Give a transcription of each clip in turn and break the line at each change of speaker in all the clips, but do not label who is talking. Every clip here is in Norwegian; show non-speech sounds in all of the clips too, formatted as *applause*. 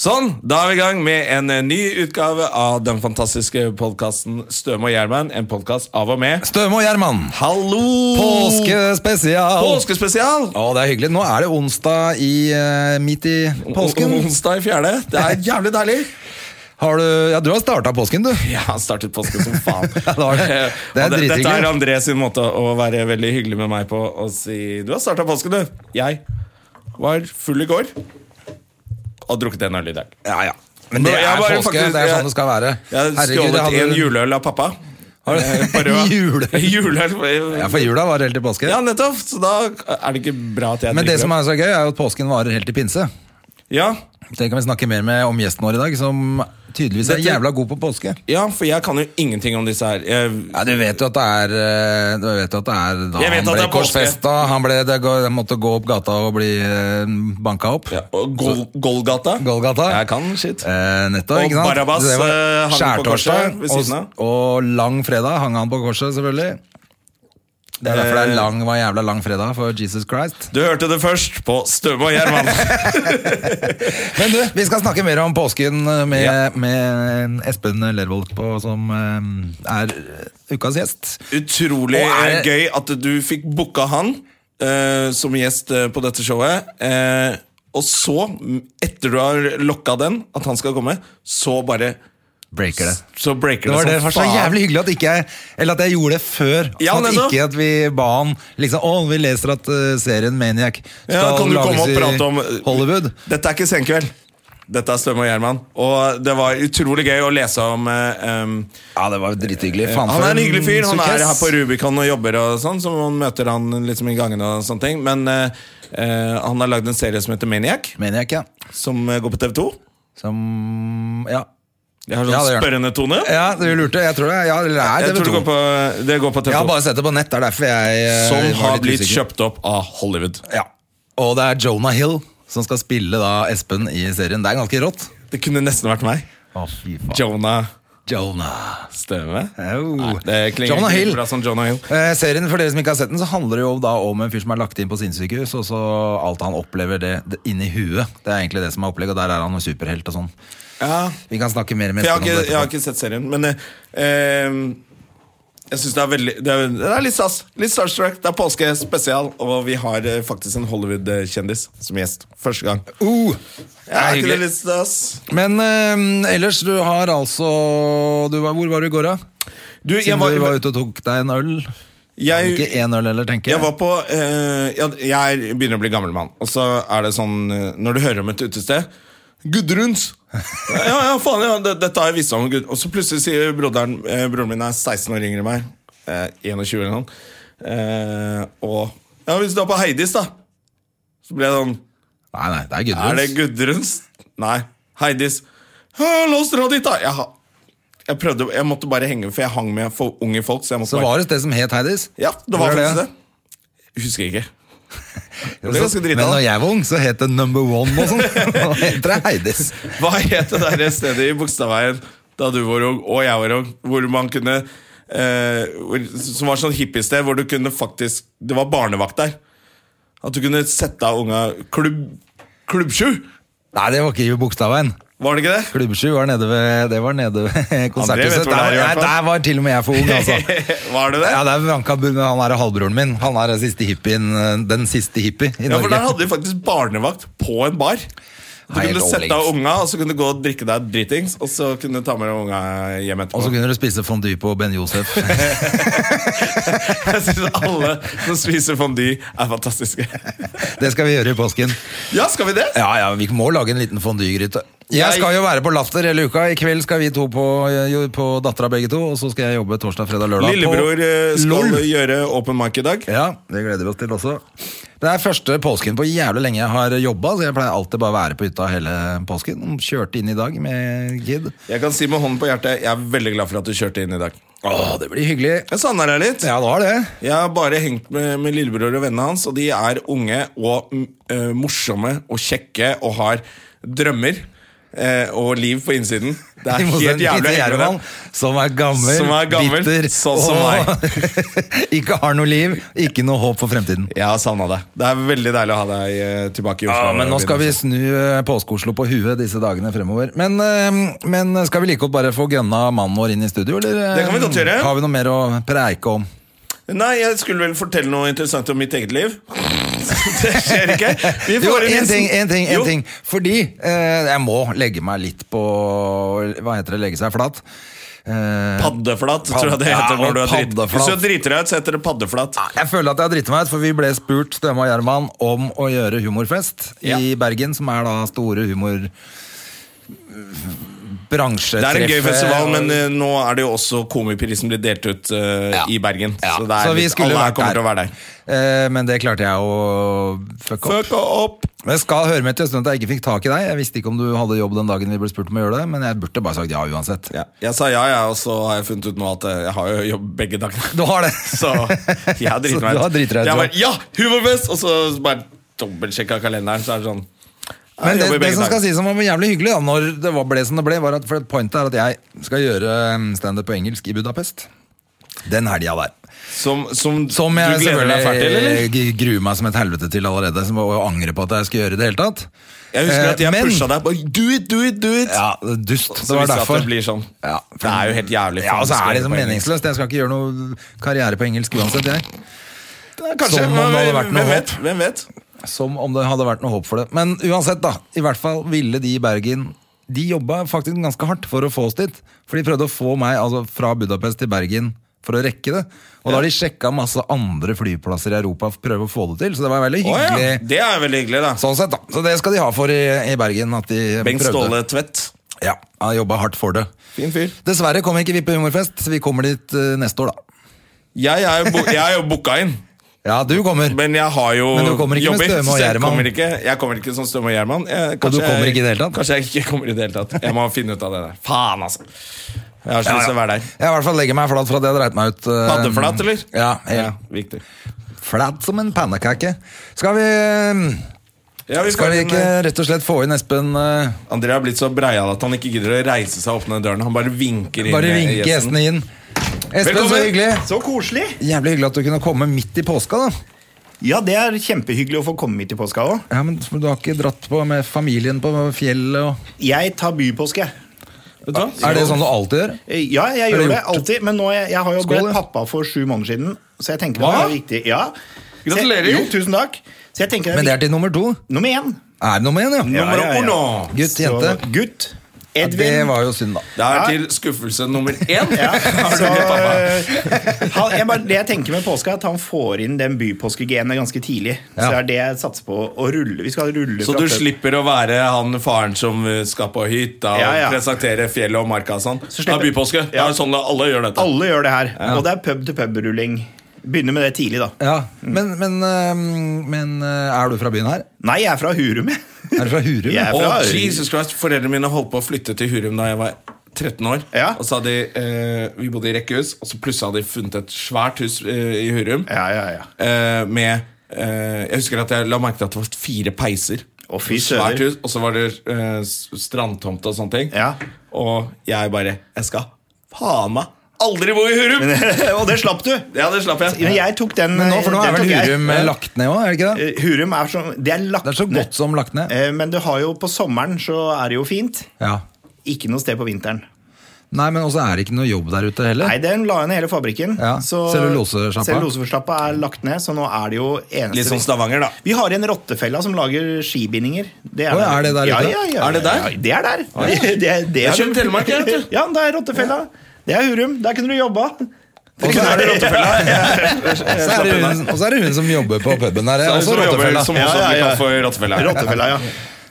Sånn, da er vi i gang med en eh, ny utgave av den fantastiske podkasten Støme og Gjerman. En podkast av og med
Støme og Gjerman.
Hallo!
Eh, Påskespesial!
Påskespesial!
Å, det er hyggelig. Nå er det onsdag i, eh, midt i påsken.
O- Onsdag i fjerde. Det er jævlig *laughs* deilig.
Har du, ja, du har starta påsken, du.
Jeg har startet påsken som *laughs* faen. Eh,
Ja, det har det. Det er
Og
drithyggelig.
Dette er André sin måte å være veldig hyggelig med meg på og si Du har starta påsken, du. Jeg var full i går og drukket en øl i dag.
Ja, ja. Men det
Men jeg
er
bare
påske.
faktisk-
det er sånn det skal være.
Jeg
Herregud, jeg
skålet
hadde-
en juleøl av pappa.
Har du-
Eh, på *laughs* rød.
Juleøl?
Juleøl. eh,
Ja, for jula var helt til påske.
Ja, nettopp. Så da er det ikke bra at jeg
Men det
drikker
som er så gøy, er jo at påsken varer helt til pinse.
Ja,
Det kan vi snakke mer med om gjesten vår i dag, som tydeligvis er
Dette-
jævla god på påske.
ja, for jeg kan jo ingenting om disse her. Jeg,
Ja, Du vet jo at det er eh, Du vet jo at det er da
Jeg vet
han
at
ble
det er påske.
korsfesta. Han ble, det, går- han måtte gå opp gata og bli eh, banka opp.
ja, og Gol Golgata.
Golgata.
Jeg kan shit.
Eh, nettopp,
Og
ikke sant?
Barabbas,
Det var
eh, hang på
skjærtorsdag,
korset ved siden av.
Og, og lang fredag hang han på korset, selvfølgelig. Det er derfor det er
Eh.
lang, var jævla lang fredag for Jesus Christ.
Du hørte det først på Støme og
*laughs*
Gjerman.
Men du, vi skal snakke mer om påsken eh, med,
Ja.
med Espen Lervold, på, som eh, er ukas gjest.
Utrolig
Og er
eh,
det-
gøy at du fikk booka han eh, som gjest eh, på dette showet. Eh, og så, m, etter du har lokka den, at han skal komme, så bare
Breaker det.
Så breaker
Det
det,
var, det
som
var så
faen.
jævlig hyggelig at, ikke jeg, eller at jeg gjorde det før.
Ja,
at
nettopp.
ikke at vi ba han liksom, Å, vi leser at eh, serien Maniac skal
Ja, kan du komme
lages
og
i
prate om eh,
Hollywood.
Dette er ikke senkveld. Dette er Støme og Gjerman. Og det var utrolig gøy å lese om eh, em,
Ja, det var drithyggelig. Faen,
Han
for
er en hyggelig fyr. Han
sukkess.
er her på Rubicon og jobber og sånn, så man møter han liksom i gangen og sånne ting. Men eh, eh, han har lagd en serie som heter Maniac,
Maniac, ja.
som eh, går på TV2.
Som Ja,
Jeg har sånn
Ja, det gjør han.
spørrende tone.
ja du lurte. Jeg tror det. Ja, eller er
jeg
det
tror det går
TV2.
på, det går på
Jeg har
TV2.
bare sett det på nett. Det er derfor jeg eh,
som
var
har
litt
blitt
usikker.
kjøpt opp av Hollywood.
Ja. Og det er Jonah Hill som skal spille da Espen i serien. Det er ganske rått.
Det kunne nesten vært meg.
Å, fy faen.
Jonah
Jonah.
Støme.
Au.
Nei, det klinger
Jonah
ikke
Hill.
bra som Jonah Hill.
Eh, serien for dere som ikke har sett den, så handler det jo da om en fyr som er lagt inn på sinnssykehus, og så alt han opplever det, det inni huet. Det er egentlig det som er opplegget, og der er han en superhelt og sånn.
Ja,
Vi kan snakke mer med
For jeg har
Espen om
ikke,
det
jeg har
etterpå.
ikke sett serien, men eh, eh, jeg syns det er veldig det er, det er litt stas. Litt starstruck. Det er påske spesial, og vi har eh, faktisk en Hollywood-kjendis som gjest. Første gang.
Uh, det
Ja, er
er
ikke det
hyggelig.
litt stas?
Men eh, ellers, du har altså du var, Hvor var du i går, da?
Du, jeg
Siden
var,
du var ute og tok deg en øl. ikke
jeg,
én øl heller, tenker
jeg
jeg.
var på eh, jeg, jeg begynner å bli gammel mann, og så er det sånn eh, Når du hører om et utested Gudruns! Ja, ja, faen, ja, det, dette har jeg visst om. Gud. Og så plutselig sier broderen eh, Broren min er 16 år yngre enn meg. Eh, 21 eller noe. Eh, og Ja, hvis du er på Heidis, da. Så ble jeg sånn
Nei, nei, det er
Er det
Gudruns.
Gudruns? Nei. Heidis. «Ja, La oss dra dit, da! Jeg, ha- jeg prøvde, jeg måtte bare henge, for jeg hang med for unge folk. Så jeg måtte
Så
bare
var det et sted som het Heidis.
Ja, det var
Hvor er
faktisk
det?
det. Jeg Husker ikke.
Men
ble ganske drita, da.
når jeg var ung, så het det Number One
*laughs*
og sånn. Nå heter det Heidis.
Hva het det der stedet i Bogstadveien da du var ung og jeg var ung, hvor man kunne eh, hvor, Som var sånn hippiested hvor du kunne faktisk Det var barnevakt der. At du kunne sette av unga klubb, Klubbsju!
Nei, det var ikke i Bogstadveien.
Var det ikke det?
Klubbsju var nede ved, det var nede ved konserthuset.
vet hvor det er, i
Der,
hvert
nei,
fall.
der var til og med jeg for
*laughs*
ung, altså.
Var det det?
Ja, det er Vanka Bunn, han er halvbroren min. Han er den siste hippien, den siste hippie i
Ja, for
Norge.
der hadde de faktisk barnevakt på en bar. Du
Helt
kunne sette av
overlegent.
unga, og så kunne du gå og drikke deg dritings, og så kunne du ta med deg unga hjem
Og så
etterpå.
kunne du spise fondue på Ben Josef.
*laughs*
*laughs*
Jeg syns alle som spiser fondue, er
*laughs*
fantastiske.
Det skal vi gjøre i påsken.
Ja, skal vi det?
Ja, ja, vi må lage en liten fondygryte. Jeg skal jo være på Latter hele uka. I kveld skal vi to på, jo, på Dattera begge to. Og så skal jeg jobbe torsdag, fredag, lørdag.
Lillebror eh,
på
skal
LOL.
gjøre open mic i dag.
Ja, det gleder vi oss til også. Det er første påsken på jævlig lenge jeg har jobba, så jeg pleier alltid bare å være på hytta hele påsken. Kjørte inn i dag med kid.
Jeg kan si med hånden på hjertet, jeg er veldig glad for at du kjørte inn i dag.
Å, det blir hyggelig.
Jeg savner deg litt.
Ja, sånn det var det.
Jeg har bare hengt med, med lillebror og vennene hans, og de er unge og mm, eh, morsomme og kjekke og har drømmer eh, og liv på innsiden. Det
*laughs* I
er helt jævlig
motsetning til
å henge med
Gjerman,
dem.
Som er gammel,
Som er gammel,
bitter
sånn som
og *laughs* ikke har noe liv, ikke noe håp for fremtiden.
Jeg har savna deg. Det er veldig deilig å ha deg eh, tilbake i Oslo.
Ja, men nå skal vi snu eh, påske-Oslo på huet disse dagene fremover. Men, eh, men skal vi like godt bare få gønna mannen vår inn i studio, eller? eh,
Det kan vi godt gjøre.
Har vi noe mer å preike om?
Nei, jeg skulle vel fortelle noe interessant om mitt eget liv. *laughs* Det skjer ikke. Vi
Jo,
får en
en
hilsen.
ting, en ting, en
Jo.
ting. Fordi eh, jeg må legge meg litt på Hva heter det? Legge seg flat. Eh,
Paddeflat, tror jeg det
Ja,
heter når du er drit.
paddeflat.
Hvis du driter deg ut, så heter det paddeflat.
jeg føler at jeg har driti meg ut, for vi ble spurt Støme og Gjerman om å gjøre humorfest
Ja.
i Bergen, som er da store humor...
Det er en gøy
Bransjetreffet
festival,
og-
men eh, nå er det jo også Komiprisen blir delt ut eh,
Ja.
i Bergen.
Ja,
Så, det er
så vi
litt,
skulle
alle her
vært
kommer
der.
til å være der.
Eh, men det klarte jeg å fuck opp.
Fuck opp!
Men jeg skal høre med til en stund at jeg ikke fikk tak i deg. Jeg visste ikke om du hadde jobb den dagen vi ble spurt om å gjøre det, men jeg burde bare sagt ja uansett.
Ja. Jeg sa ja, jeg, og så har jeg funnet ut nå at eh, jeg har jo jobb begge dagene.
Du har det.
*laughs* Så jeg har driti
*laughs* Så du har
meg
driti deg ut,
Jeg
ja.
bare, ja, humorfest! Og så bare dobbeltsjekka kalenderen, så er det sånn jeg
Men det,
jobber
det
begge
som skal
dager.
sies som var jævlig hyggelig, da, når det var- ble som det ble, var at for et pointet er at jeg skal gjøre mm, standup på engelsk i Budapest. Den helga der.
Som, som,
Som jeg
du gleder deg fælt til, eller?
selvfølgelig eh, gruer meg som et helvete til allerede, som- og angrer på at jeg skal gjøre det i det hele tatt.
Jeg husker
Eh,
at jeg
men-
pusha deg. Bare, do it, do it, do it!
Ja, dust.
Så
det var
visste jeg at
derfor.
det blir sånn.
Ja,
Det er jo helt jævlig.
Ja, og
Faen,
så er det
skal jeg
liksom
på engelsk.
meningsløst. Jeg skal ikke gjøre noe karriere på engelsk uansett, jeg.
Kanskje,
Som om
men
det hadde
hvem-
vært noe
hvem vet?
håp.
Hvem vet?
Som om det hadde vært noe håp for det. Men uansett, da. I hvert fall ville de i Bergen De jobba faktisk ganske hardt for å få oss dit. For de prøvde å få meg altså, fra Budapest til Bergen for å rekke det. Og da har de sjekka masse andre flyplasser i Europa for å prøve å få det til. Så det var veldig
Å
hyggelig.
ja, det er veldig hyggelig, da.
Sånn sett, da. Så det skal de ha for i, i Bergen. At de
Bengt
prøvde.
Ståle Tvedt.
Ja, han jobba hardt for det.
Fin fyr.
Dessverre kommer ikke vi på humorfest. Vi kommer dit eh, neste år, da.
Jeg er jo, bo jeg er jo booka inn,
Ja, du kommer.
men jeg har jo
Men du kommer ikke med
jobber,
Støme og
så jeg
Gjerman.
kommer, ikke, jeg kommer ikke som Støme og Gjerman. Jeg-
Og du
kanskje
kommer
jeg-
ikke i det hele tatt?
Kanskje jeg ikke kommer i det hele tatt. Jeg må finne ut av det der. Faen, altså. Jeg har så lyst til å være der.
Jeg i hvert fall legger meg flat for at jeg har dreit meg ut. eh,
Paddeflat, eller?
Ja, helt
Ja, viktig.
flat som en pannekake. Skal vi eh,
Ja, vi
Skal
får
vi
en,
ikke
eh,
rett og slett få inn Espen eh,
André har blitt så breial at han ikke gidder å reise seg opp ned døren. Han bare vinker inn
Bare
eh,
vinke gjestene inn. Espen, så hyggelig.
Så koselig.
Jævlig hyggelig at du kunne komme midt i påska, da.
Ja, det er kjempehyggelig å få komme hit i påska òg.
Ja, men Du har ikke dratt på med familien på fjellet og
Jeg tar bypåske.
Vet du hva?
Er det sånn du alltid gjør?
Eh, Ja, jeg
Har du
gjør det
gjort
alltid, men nå, jeg, jeg har jo
Skål,
blitt
ja.
pappa for sju måneder siden, så jeg tenker det
Hva?
er viktig. Ja. Så jeg-
Gratulerer.
Jo, tusen takk. Så jeg tenker det er
Men det
viktig.
er til nummer to.
Nummer én.
Er det nummer én, ja?
Ja, ja, ja.
uno.
Gutt, jente.
Så, gutt.
Ja,
Edvin.
det var jo synd, da.
Det er til skuffelse nummer én.
Ja,
*laughs* Har du
så,
blitt pappa?
han, jeg bare, det jeg tenker med påska, er at han får inn den bypåskegenet ganske tidlig. Så det
Ja.
er det jeg satser på å rulle. Vi skal rulle
Så
fra
du
før.
slipper å være han faren som eh, skal på hytta og
Ja, ja.
presentere fjellet og marka og sånn?
Så
Det er
slipper-
bypåske. Det
Ja.
er sånn at alle gjør dette.
Alle gjør det her. Og det er pub-til-pub-rulling. Begynner med det tidlig, da.
Ja, Men, men, eh, men eh, er du fra byen her?
Nei, jeg er fra Hurum, jeg.
Er du fra Hurum?
Jeg er
Og
fra Hurum.
Jesus Christ, Foreldrene mine holdt på å flytte til Hurum da jeg var 13 år.
Ja.
Og så hadde de, eh, Vi bodde i rekkehus, og så plutselig hadde de funnet et svært hus eh, i Hurum.
Ja, ja, ja.
Eh, med eh, Jeg husker at jeg la merke til at det var fire peiser.
Å, fy
Svært
søder.
hus, Og så var det eh, s- strandtomt og sånne ting.
Ja.
Og jeg bare Jeg skal faen meg aldri bo i Hurum!
*laughs* og det slapp du!
Ja, det slapp jeg.
Men jeg tok den.
Men nå, for nå
den
er vel
tok jeg.
Hurum eh, lagt ned òg, er det ikke det?
Eh, Hurum er så, det er lagt
Det er så godt som lagt ned.
Eh, Men du har jo på sommeren så er det jo fint.
Ja.
Ikke noe sted på vinteren.
Nei, men også er det ikke noe jobb der ute heller.
Nei, den la ned hele fabrikken.
Ja,
så-
cellulosesjappa.
Cellulosesjappa er lagt ned, så nå er det jo eneste
Litt sånn Stavanger, da.
Vi har en rottefella som lager skibindinger. Det
Å, er det der
Ja,
ute?
ja, ja,
Er det der?
Ja, det er der. *laughs* Det, det, det
Jeg kjører Telemark, jeg,
*laughs*
vet
Ja, det er rottefella. Det er Hurum. Der kunne du jobba.
Og så er det rottefella.
Og så er det hun- og så er det hun som jobber på puben her.
Det
Det
er
er
hun
også
som jobber
rottefella.
som også
Ja, ja,
blir
ja.
kalt for rottefella.
*laughs* Rottefella, ja.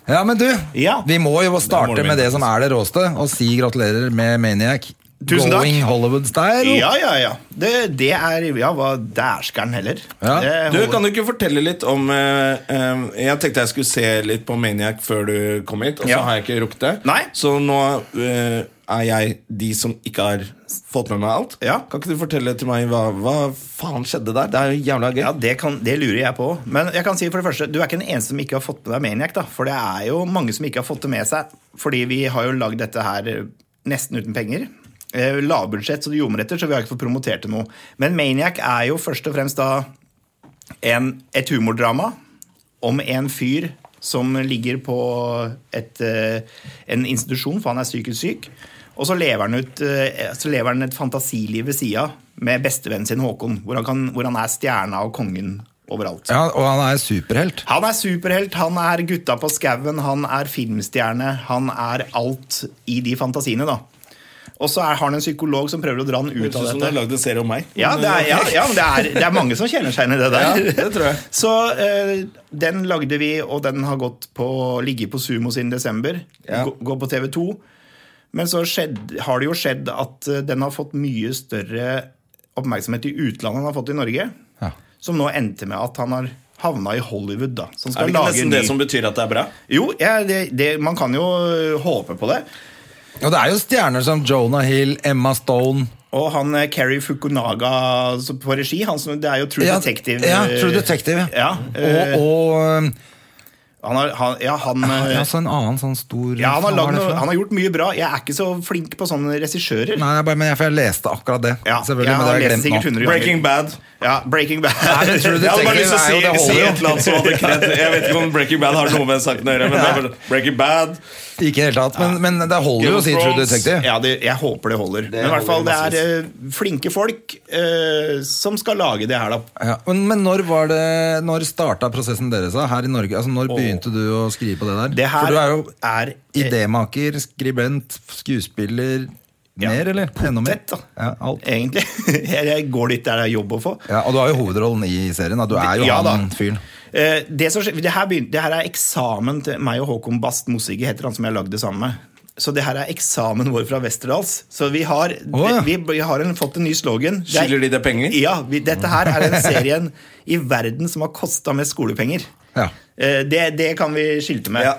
Ja, men du,
Ja.
vi må jo starte
må du
med
mene.
det som er det råeste, og si gratulerer med Maniac.
Tusen takk.
Going Hollywood-style.
Ja, ja, ja. Det, det er Ja, hva dæsker'n heller.
Ja.
Det
Du,
holder.
Kan du ikke fortelle litt om eh, eh, Jeg tenkte jeg skulle se litt på Maniac før du kom hit, og så
Ja.
har jeg ikke rukket det.
Nei.
Så nå eh, er jeg de som ikke har fått med meg alt.
Ja.
Kan ikke du fortelle til meg hva, hva faen skjedde der? Det er jo jævla gøy.
Ja, det, kan, det lurer jeg på. Men jeg kan si for det første, du er ikke den eneste som ikke har fått med deg Maniac. da, For det er jo mange som ikke har fått det med seg. Fordi vi har jo lagd dette her eh, nesten uten penger. Eh, Lavbudsjett, så det ljomer etter, så vi har ikke fått promotert det noe. Men Maniac er jo først og fremst da en, et humordrama om en fyr som ligger på et, eh, en institusjon, for han er psykisk syk. Og så lever han, ut, eh, så lever han et fantasiliv ved sida med bestevennen sin Håkon, hvor han, kan, hvor han er stjerna og kongen overalt.
Ja, og han er superhelt.
Han er superhelt, han er gutta på skauen, han er filmstjerne, han er alt i de fantasiene, da. Og så er, har han en psykolog som prøver å dra han ut
Høres
av
ut som du
dette.
har lagd en serie om meg. eh,
Ja, det er, ja, ja men det er, det er mange som kjenner seg inn i det der.
Ja, det tror jeg.
Så eh, den lagde vi, og den har gått på, ligget på Sumo siden desember.
Ja.
Gå- Går på TV 2. Men så skjedd, har det jo skjedd at eh, den har fått mye større oppmerksomhet i utlandet enn han har fått i Norge.
Ja.
Som nå endte med at han har havna i Hollywood, da. Som
Er
skal
det ikke
lage
nesten det
ny
som betyr at det er bra?
Jo, ja, det, det, man kan jo eh, håpe på det.
Og det er jo stjerner som Jonah Hill, Emma Stone
Og han eh, Kerry Fukunaga som- på regi, han som, det er jo True
Ja,
Detective.
Ja,
eh,
True Detective.
Ja, eh,
og og um,
Han har, han, ja, han, eh,
ja, så en annen sånn stor
ja, han, har
Hva var
lagd
det
noe,
for noe?
han har gjort mye bra. Jeg er ikke så flink på sånne regissører.
Nei, jeg bare, men jeg, for jeg leste akkurat det.
Ja,
Selvfølgelig,
jeg
men det
har
har jeg
lest sikkert
glemt nå.
100 ganger.
Breaking Bad.
Ja, Breaking Bad.
men
*laughs*
True
Jeg hadde bare
Detective
lyst til å
er jo- det
si, si
holder jo.
et eller annet som
*laughs*
hadde kred. Jeg vet ikke om Breaking Bad har noe med saken å gjøre. Men det er bare Breaking Bad
Ikke i det hele tatt, men, men det holder
Game
jo
of
å si True
Thrones.
Detective.
Ja, det, jeg håper det holder. Men i hvert fall, det
holder
er eh, flinke folk eh, som skal lage det her, da.
Ja, men, men når var det Når starta prosessen deres da, her i Norge? Altså, når begynte du å skrive på det der?
Det her
For du er jo
er, eh,
idémaker, skribent, skuespiller
Ja,
Mer, eller? Enda mer?
potet, da.
Ja, alt.
Egentlig. *laughs* Jeg går dit der det er jobb å få.
Ja, og du har jo hovedrollen i serien. Da. Du er jo
Ja, da.
han fyren.
Eh, Det, som, skje- det, her begyn- det her er eksamen til meg og Håkon Bast Mossige, heter han som jeg har lagd det sammen med. Så det her er eksamen vår fra Westerdals. Så vi har,
Å, ja.
vi, vi har en, fått en ny slogan. Det er-
Skylder de deg penger?
Ja. Vi, dette her er den serien i verden som har kosta mest skolepenger.
Ja.
Eh, Det, det kan vi skilte med.
Ja.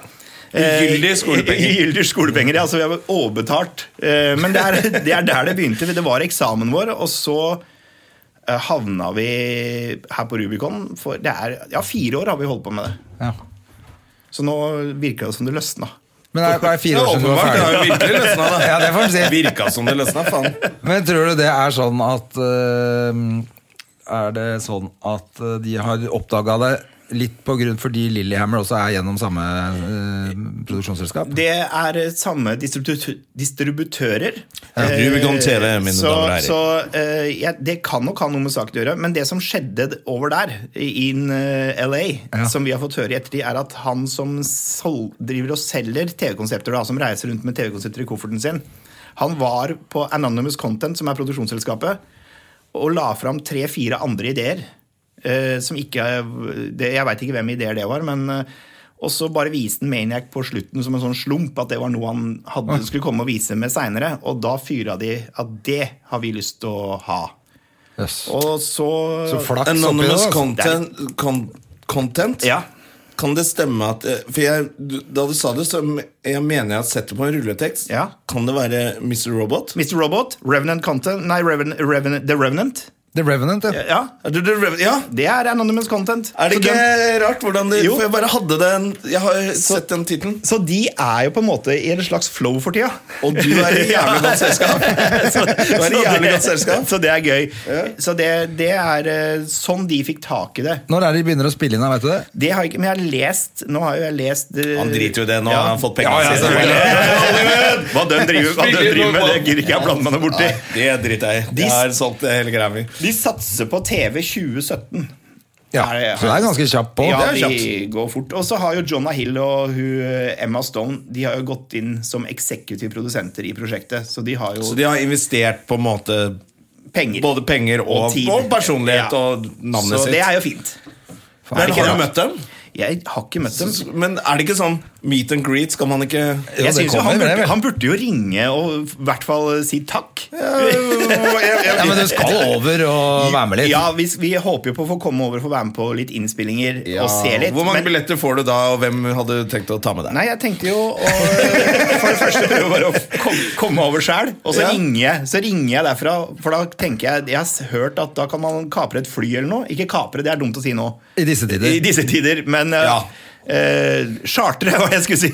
Ugyldige skolepenger.
Eh, *laughs* Ugyldige skolepenger, ja. Så vi har overbetalt. Eh, Men det er,
*laughs*
det er der det begynte. Det var eksamen vår, og så eh, havna vi her på Rubicon. For det er, ja, fire år har vi holdt på med det.
Ja.
Så nå virker det som det løsna.
Men det er, det er
Det
fire
er
år siden du var
åpenbart. Det har
ferdig.
jo virkelig løsna, da.
Ja, det får vi si.
Virka som det løsna, faen.
Men tror du det er sånn at øhm, Er det sånn at øh, de har oppdaga det litt på grunn fordi Lillehammer også er gjennom samme øh, produksjonsselskap?
Det er eh, samme distributu- distributører.
Ja,
Eh,
Rubicon TV, mine
så,
damer og herrer.
Så eh, ja, det kan nok ha noe med saken å gjøre, men det som skjedde d- over der, i- in eh, LA,
Ja.
som vi har fått høre i ettertid, er at han som sol driver og selger TV-konsepter, da, som reiser rundt med TV-konsepter i kofferten sin, han var på Anonymous Content, som er produksjonsselskapet, og la fram tre-fire andre ideer. eh, som ikke det, Jeg veit ikke hvem ideer det var, men eh, Og så bare viste han Maniac på slutten som en sånn slump, at det var noe han hadde, skulle komme og vise med seinere. Og da fyra de at det har vi lyst til å ha.
Jøss.
Og så,
Så flaks oppi det.
Anonymous
altså.
content, con content?
Ja.
Kan det stemme at eh, For jeg, du- da du sa det, så m- jeg mener jeg har sett det på en rulletekst.
Ja.
Kan det være Mr. Robot?
Mr. Robot, Revenant Content Nei, Reven, Reven, The Revenant.
The Revenant, ja.
Ja,
Er det, det, ja.
det er Anonymous Content.
Er det
Så
ikke
den-
rart hvordan det
Jo.
For jeg bare hadde den Jeg har sett den tittelen.
så de er jo på en måte i en slags flow for tida.
Og du er i jævlig godt selskap.
*laughs* så,
var et
så
jævlig godt selskap.
Så det er gøy. Så det, det er eh, sånn de fikk tak i det.
Når er det de begynner å spille inn? da, Vet du det?
Det har jeg ikke, men jeg har lest Nå har jo jeg lest eh,
Han driter jo i det nå, han har fått pengene
Ja, ja,
sine.
Hva de driver, hva de
Spiller
driver med,
noe.
det gidder ikke jeg blande meg noe borti.
Nei, det driter jeg i.
De-
Jeg har solgt det hele greia mi.
De satser på TV 2017.
Ja,
Er det-
Så det er ganske kjapt på.
Ja,
Det er kjapt.
de går fort. Og så har jo Jonah Hill og hun, eh, Emma Stone De har jo gått inn som eksekutive produsenter i prosjektet, så de har jo
Så de har investert på en måte
penger.
både penger og,
Og tid.
og personlighet
Ja.
og navnet
så
sitt.
det er jo fint.
Men
ikke
har du
det?
møtt dem?
Jeg har ikke møtt dem.
Men er det ikke sånn Meet and greet, skal man ikke
Jo,
Jeg
det
synes jo
kommer,
han,
det,
burde,
vel?
han burde jo ringe og i hvert fall eh, si takk. *laughs*
Ja, men du skal
*laughs*
over og være med litt.
Ja, vi, vi håper jo på å få komme over og få være med på litt innspillinger og se litt.
Hvor mange
men-
billetter får du da, og hvem hadde du tenkt å ta med deg?
Nei, jeg tenkte jo å eh, For det første prøve bare å kom- komme over sjæl, og så,
Ja.
ringer jeg, så ringer jeg derfra. For da tenker jeg Jeg har s- hørt at da kan man kapre et fly eller noe. Ikke kapre, det er dumt å si nå
I disse
i
tider.
disse tider, men eh,
Ja.
eh, Chartre, hva jeg skulle si.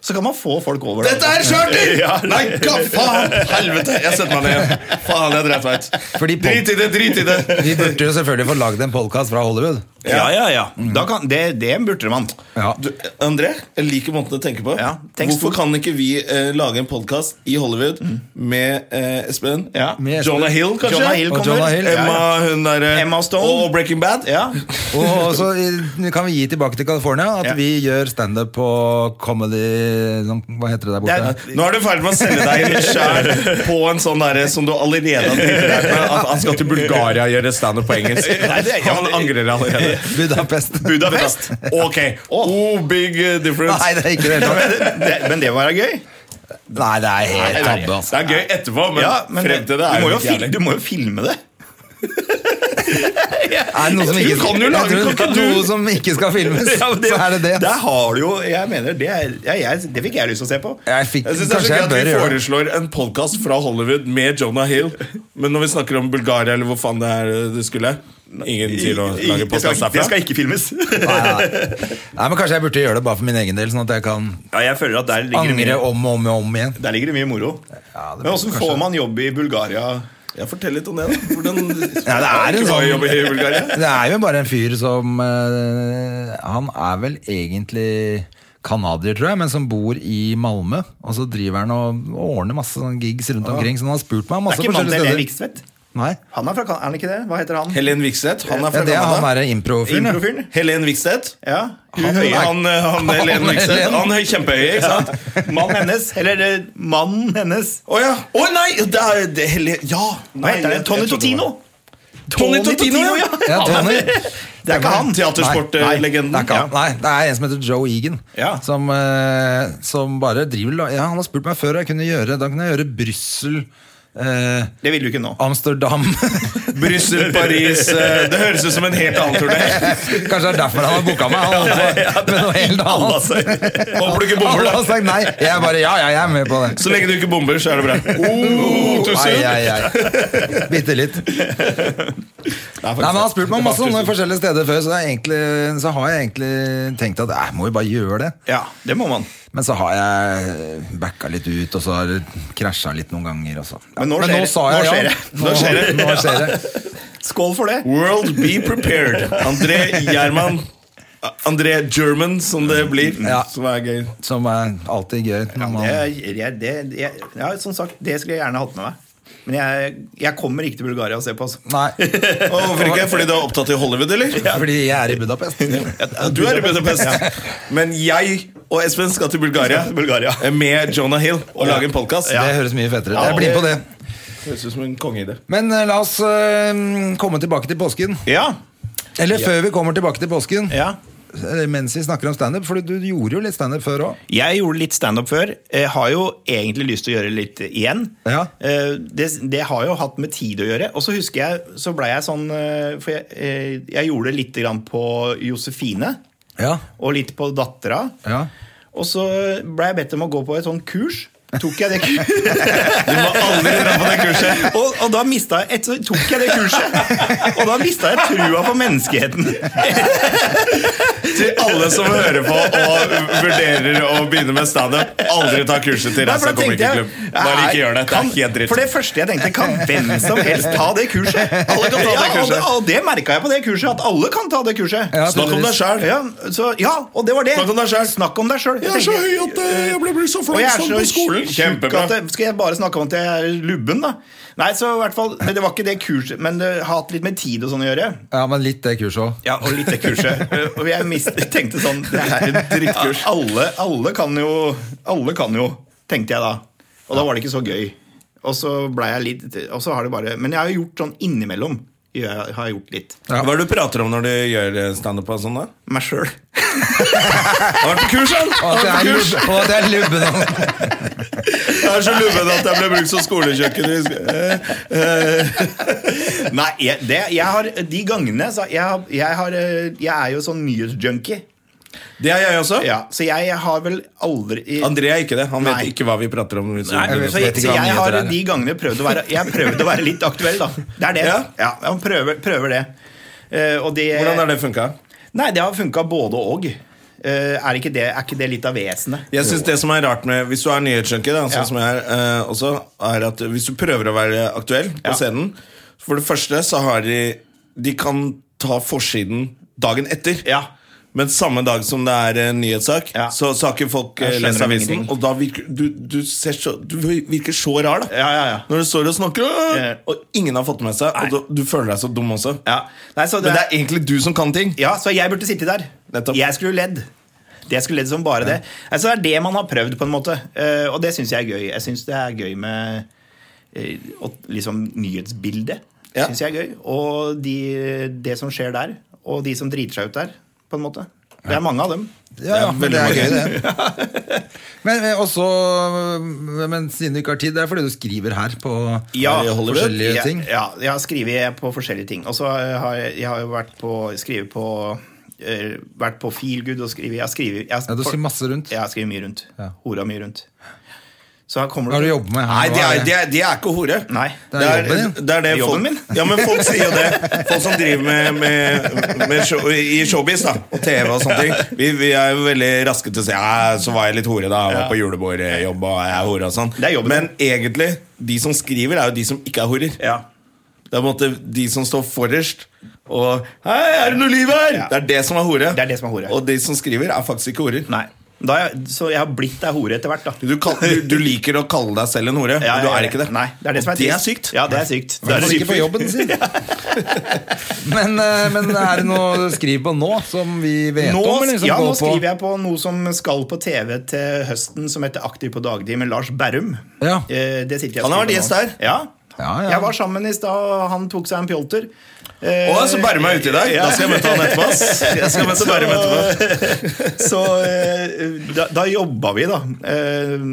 Så kan man få folk over.
Dette er charter!
*laughs* Ja.
Nei, hva faen? Helvete! Jeg setter meg ned igjen. Faen, jeg dreit meg ut.
Fordi på-
Drit i det, drit i det.
Vi burde jo selvfølgelig få lagd en podkast fra Hollywood.
Ja, ja, ja. Da kan, det, det burde man.
Ja.
Du, André, jeg liker måten du tenker på.
Ja, tenk
Hvorfor
stort. Mm.
kan ikke vi eh, lage en podkast i Hollywood med eh, Espen?
Ja.
Med Espen.
Jonah Hill, kanskje?
Jonah Hill
Og
kommer.
Jonah Hill,
Emma,
Emma, hun der, eh,
Emma Stone.
Og Breaking Bad.
ja.
Og så i- kan vi gi tilbake til California at
Ja.
vi gjør standup på comedy sånn- Hva heter det der borte?
Det
Nå er du i ferd med å selge deg inn sjæl på en sånn derre som du allerede har tenkt deg med. At han skal til Bulgaria og gjøre standup på engelsk. Han angrer allerede. *laughs*
Budapest.
Budapest.
Ok. Oh, big eh, difference.
*laughs* Nei, det er ikke det. hele tatt.
Det, men det må være gøy.
Nei, det er helt tabbe. Altså.
Det er gøy etterpå, men,
Ja, men
frem til det
du,
er
må jo
jo ikke
fil,
*laughs* jævlig.
du må jo filme det.
Er det noen som
Du
ikke,
kan jo lage-
jeg
kan
tror
ikke
det er
du-
noe som ikke skal
*laughs*
filmes, så er det det.
Der har du jo Jeg mener, det, er, ja, jeg, det fikk jeg lyst til å se på.
Jeg fikk,
Jeg synes det er så
kanskje
gøy
jeg
at
bør
vi
gjøre det.
foreslår en podkast fra Hollywood med Jonah Hill. Men når vi snakker om Bulgaria, eller hvor faen det er det skulle Ingen til å
I- det,
lage
skal,
podkast
det
derfra.
skal ikke filmes. *laughs*
Nei, nei. nei, men Kanskje jeg burde gjøre det bare for min egen del, sånn at jeg kan
Ja, jeg føler at der ligger, det
angre
mye,
om og om, og om igjen.
der ligger det mye moro.
Ja, det
Men
burde
åssen
kanskje-
får man jobb i Bulgaria?
Ja, fortell litt om det, da. Hvordan
Ja, det er en
Ikke bare
sånn-
jobbe i Bulgaria.
*laughs* Det er jo bare en fyr som eh, Han er vel egentlig canadier, tror jeg, men som bor i Malmö. Og så driver han og og ordner masse sånne gigs rundt omkring, så han har spurt meg om
Det
masse
er ikke mann
forskjellige
til Helen
steder.
Vikstvedt?
Nei.
Han er fra Kan- Er han ikke det? Hva heter han?
Helen Vikstedt. Han er
Ja,
fra
det er han
Canada.
derre improfyren. ja.
Improfyren?
Helen Vikstedt.
Ja.
Han,
Høye.
han, eh, han, Helen Vikstedt.
Helen.
han er kjempehøy, ikke sant?
Mannen hennes. Eller eh, mannen hennes.
Å ja! Å nei! Det er det, er Helen Ja!
Hva
Nei,
heter det?
jeg-
Tony
jeg trodde det
Totino!
var- Tony Totino, ja!
Ja, Tony.
Det er ikke han.
Nei, nei,
Teatersportlegenden.
det er ikke han. Nei, det er en som heter Joe Egan.
Ja.
Som, eh, som bare driver la- ja, Han har spurt meg før, og jeg kunne gjøre, da kunne jeg gjøre Brussel, eh,
Det vil du ikke nå.
Amsterdam *laughs*
Brussel, Paris eh, Det høres ut som en helt annen turné.
Kanskje det er derfor han har booka meg. Han altså, med noe helt
Alle har
annet.
sagt- Håper du ikke bomber,
Alle
da.
har sagt nei. Jeg bare ja, ja, jeg er med på det.
Så lenge du ikke bomber, så er det bra.
*laughs*
Oh, too
Ai,
soon.
ai, ai. Bitte litt. Nei, men Han har spurt meg om masse om forskjellige steder før, så, det er egentlig, så har jeg egentlig tenkt at jeg må jo bare gjøre det.
Ja, det må man.
Men så har jeg backa litt ut, og så har det krasja litt noen ganger. Også.
Men nå skjer det.
sa jeg
Nå
ja.
skjer det.
Nå,
Nå skjer det.
nå skjer det.
Skål for det.
World be prepared. André Gjerman. André German, som det blir.
Ja.
Som er gøy.
Som er alltid gøy. når man-
Det, jeg, det, jeg, ja, som sagt, det skulle jeg gjerne hatt med meg. Men jeg, jeg kommer ikke til Bulgaria og ser på. Altså.
Nei,
Og hvorfor ikke? Fordi du er opptatt i Hollywood, eller?
fordi jeg er i Budapest.
Du er i Budapest. Men jeg og Espen skal til Bulgaria
Bulgaria.
med Jonah Hill og lage en podkast.
Det høres mye fetere ut. Jeg blir med på det.
Høres ut som en kongeidé.
Men eh, la oss eh, komme tilbake til påsken.
Ja,
Eller før vi kommer tilbake til påsken,
ja.
eh, mens vi snakker om standup. For du gjorde jo litt standup før òg.
Jeg gjorde litt standup før. Jeg har jo egentlig lyst til å gjøre litt igjen.
Ja.
Eh, Det, det har jo hatt med tid å gjøre. Og så husker jeg, så ble jeg sånn eh, For jeg, eh, jeg gjorde det lite grann på Josefine,
Ja.
og litt på dattera.
Ja.
Og så ble jeg bedt om å gå på et sånt kurs. Tok
*laughs*
jeg det kurset?
Du må aldri dra på det kurset.
*laughs* Og, og da mista jeg et, så tok jeg det kurset! Og da mista jeg trua på menneskeheten.
*laughs* Til alle som hører på og vurderer å begynne med standup, aldri ta kurset til
Nei, for
Rassa
da tenkte jeg,
Komikerklubb. Bare ikke gjør det. Det
kan-
er helt dritt.
For det første jeg tenkte, kan hvem som helst ta det kurset? Alle
kan ta det
ja, og
kurset.
Og det merka jeg på det kurset, at alle kan ta det kurset.
Ja,
Snakk om deg sjæl.
Ja, så, ja, og det var det.
Snakk om deg selv.
Snakk om deg selv. Jeg tenkte-
at jeg ble så
og eh, jeg er så tjukk
Kjempebra.
at jeg- Skal jeg bare snakke om at jeg er lubben, da? Nei, så i hvert fall, men Det var ikke det kurset, men det har hatt litt med tid og sånn å gjøre.
ja, men litt det kurset òg.
Ja, og litt det kurset. *laughs* Og jeg mist, tenkte sånn Det er et drittkurs. Alle, alle kan jo, alle kan jo, tenkte jeg da. Og da var det ikke så gøy. Og så ble jeg litt Og så har det bare Men jeg har gjort sånn innimellom. Jeg har gjort litt.
Hva er det du prater om når du gjør standup? og sånn da?
Meg sjøl.
Han har vært på kurs, han!
Og
han
at
har vært på
jeg er
kurs.
lubben- og at jeg er lubben. han.
Jeg er så lubben at jeg ble brukt som skolekjøkken. i sk- Eh,
Nei, jeg, det, jeg har, de gangene så jeg, har- jeg, har, eh, jeg er jo sånn nyhetsjunkie.
Det er jeg også.
Ja, så jeg har vel aldri
André er ikke det. Han vet
Nei.
ikke hva vi prater om. Så-
Nei,
vet
så,
ikke
så
hva
jeg
nyheter
har
er.
de gangene prøvd å være, jeg prøvd å være litt aktuell, da. Det er det.
Ja.
Ja, man prøver, prøver det. Eh, og det
Hvordan har det funka?
Nei, det har funka både og. Eh, er, ikke det, er ikke det litt av vesenet?
Jeg synes det som er rart med Hvis du er nyhetsjunkie, da, sånn
Ja.
som jeg er, eh, også, er at hvis du prøver å være aktuell på
Ja.
scenen For det første så har de De kan ta forsiden dagen etter.
Ja.
Men samme dag som det er en nyhetssak,
Ja.
så, så har ikke folk eh,
Jeg skjønner
lest avisen.
ingenting.
Og da virker du, du, ser så, du virker så rar, da.
Ja, ja, ja.
Når du står og snakker, «Åh!»
Ja.
og ingen har fått det med seg. Og du, du føler deg så dum også.
Ja. Nei, så det
Men det
er-
er egentlig du som kan ting.
Ja, så jeg burde sitte der.
Nettopp.
Jeg skulle ledd. Det skulle ledd som bare det. Altså, det er det man har prøvd, på en måte. Eh, og det syns jeg er gøy. Jeg syns det er gøy med eh, å- liksom nyhetsbildet.
Ja.
Synes jeg er gøy. Og de, det som skjer der, og de som driter seg ut der, på en måte. Det er mange av dem.
Ja, ja, men det er
veldig
gøy, det. Men, eh, men også, eh, men siden du ikke har tid, det er fordi du skriver her på
Ja,
i Hollywood. forskjellige
jeg,
ting.
Ja, jeg har skrevet på forskjellige ting. Og så har jeg, jeg har jo vært på skrevet på eh, vært på Feelgood og skrevet Jeg har skrevet jeg har-
Ja, du skriver masse rundt.
Jeg har skrevet mye rundt.
Ja.
Hora mye rundt. Så her kommer
Hva har du jobbet med her?
Nei,
nå,
det er,
eller?
det er, det er ikke hore.
Nei.
Det er jobben din.
det er det
Det er jobben
folk,
min.
Ja, men folk sier jo det. Folk som driver med, med, med show, i showbiz da, og TV og sånne ting. *laughs* Vi, vi er jo veldig raske til å si ja, så var jeg litt hore da, jeg var på julebordjobb og jeg er hore og sånn.
Det er jobben
Men egentlig, de som skriver, er jo de som ikke er horer.
Ja.
Det er på en måte de som står forrest og Hei, er det noe liv her?!
Ja.
Det er det som er hore.
Det er det som er hore.
Og de som skriver, er faktisk ikke horer.
Nei. Da har jeg, så jeg har blitt ei hore etter hvert, da.
Du, kall, du, du liker å kalle deg selv en hore,
Ja,
men du
ja,
er
ja.
ikke det.
Nei, det er det som er
og det er
trist.
sykt.
Ja, det er sykt.
I hvert fall ikke på
sykt.
jobben sin. men, eh, men er det noe du skriver på nå som vi vet
Nå,
om? Eller som
ja, nå
går på?
skriver jeg på noe som skal på TV til høsten, som heter Aktiv på dagtid med Lars Berrum.
Ja.
Eh, Det sitter jeg og
Han har
skriver
vært
nå.
gjest der.
Ja.
Ja, ja.
Jeg var sammen i stad, og han tok seg en pjolter.
Å, så bærer meg ute i dag. Da skal jeg møte han etterpå. ass. Jeg skal møte Bærum etterpå.
Så eh, da, da jobba vi, da. Eh,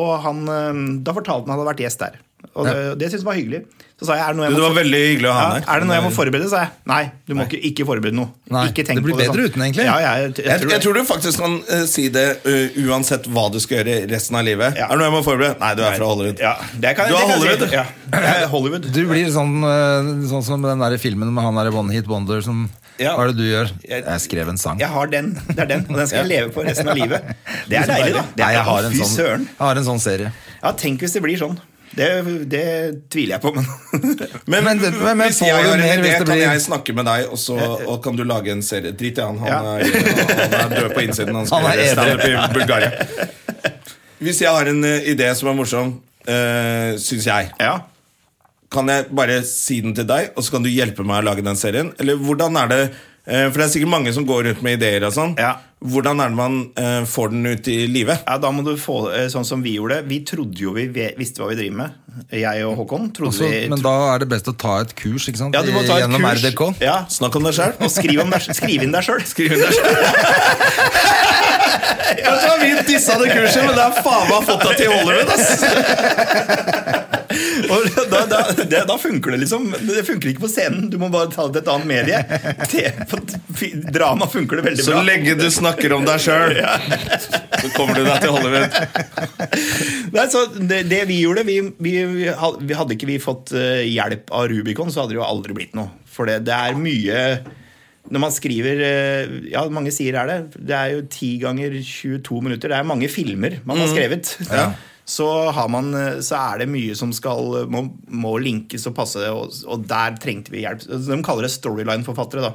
Og han eh, Da fortalte han at han hadde vært gjest der. Og det, det syntes jeg var hyggelig. Så sa jeg er det noe jeg
Det
må
var veldig hyggelig å ha
ja,
han her.
er det noe jeg må forberede, sa jeg. Nei, du må ikke, ikke forberede noe.
Nei,
ikke tenk
det blir
på det
bedre
sånn.
uten, egentlig.
Ja, jeg, jeg,
Jeg,
tror
jeg
det.
tror du faktisk kan eh, si det eh, uansett hva du skal gjøre resten av livet.
Ja.
Er det noe jeg må forberede? Nei, du er fra Hollywood.
Ja, det kan, det kan
Du er
jeg si.
Hollywood, du.
Ja, jeg er Hollywood.
Du blir sånn, eh, sånn som den der filmen med han der i One Hit Wonder som
Ja.
Hva er det du gjør?
Jeg-
Jeg skrev en sang.
Jeg har den. Det er den, og den skal jeg leve på resten
*laughs*
av livet. Det er deilig, da. Det
Nei,
er,
jeg har, en
fy
sånn,
søren.
jeg har en sånn serie.
Ja, tenk hvis det blir sånn. Det, det tviler jeg på, men *laughs*
Men,
Men det- men- men
hvis
får
jeg
du
har en
mer
idé,
hvis det
kan
blir-
jeg snakke med deg, og, så, og kan du lage en serie? Drit i han. Han,
Ja.
er, han er død på innsiden. Han,
Han
skal
er
gjøre standup
edru.
i Bulgaria. Hvis jeg har en eh, idé som er morsom, uh, syns jeg
Ja.
Kan jeg bare si den til deg, og så kan du hjelpe meg å lage den serien? Eller hvordan er det eh, For det er sikkert mange som går rundt med ideer og sånn.
Ja.
Hvordan er det man eh, får den ut i live?
ja, da må du få eh, sånn som vi gjorde. Vi trodde jo vi ve- visste hva vi driver med. Jeg og Håkon trodde
Også,
vi
Altså, men da er det best å ta et kurs ikke sant?
ja, du må ta
I-
et
gjennom
kurs.
RDK.
Ja.
Snakk om deg sjøl.
Og skriv, om deg, skriv inn deg sjøl.
Kanskje har vi dissa det kurset, men det er faen meg fått deg til Hollywood, *laughs* ass!
*laughs* Da, da, det, da funker det liksom. Det funker ikke på scenen. Du må bare ta det til et annet medie. *laughs* Te- på- fi- Drama funker det veldig
Så
bra.
lenge du snakker om deg sjøl, så kommer du deg til Hollywood.
Nei, så det, det vi gjorde vi, vi, vi had- vi Hadde ikke vi fått eh, hjelp av Rubicon, så hadde det jo aldri blitt noe. For det, det er mye Når man skriver eh, Ja, mange sier er det. Det er jo 10 ganger 22 minutter. Det er mange filmer man har skrevet. Så, har man, eh, så er det mye som skal må, må linkes og passe, og, og der trengte vi hjelp. De kaller det storyline-forfattere, da.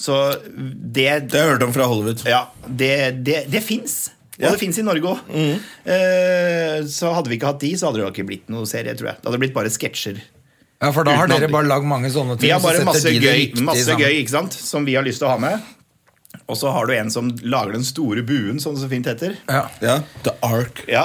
Så det
Det har jeg hørt om fra Hollywood.
ja, det, det, det fins. Og
Ja. Mm.
det fins i Norge òg. så hadde vi ikke hatt de, så hadde det jo ikke blitt noe serie. tror jeg Det hadde blitt bare sketsjer.
Ja, for da har
Uten
dere
andre.
bare lagd mange sånne ting.
Vi har
så
bare
setter
masse
de det
gøy,
riktig
masse
sammen.
gøy ikke sant? som vi har lyst til å ha med. Og så har du en som lager den store buen, sånn som det så fint heter.
Ja.
Ja, The Ark.
Ja,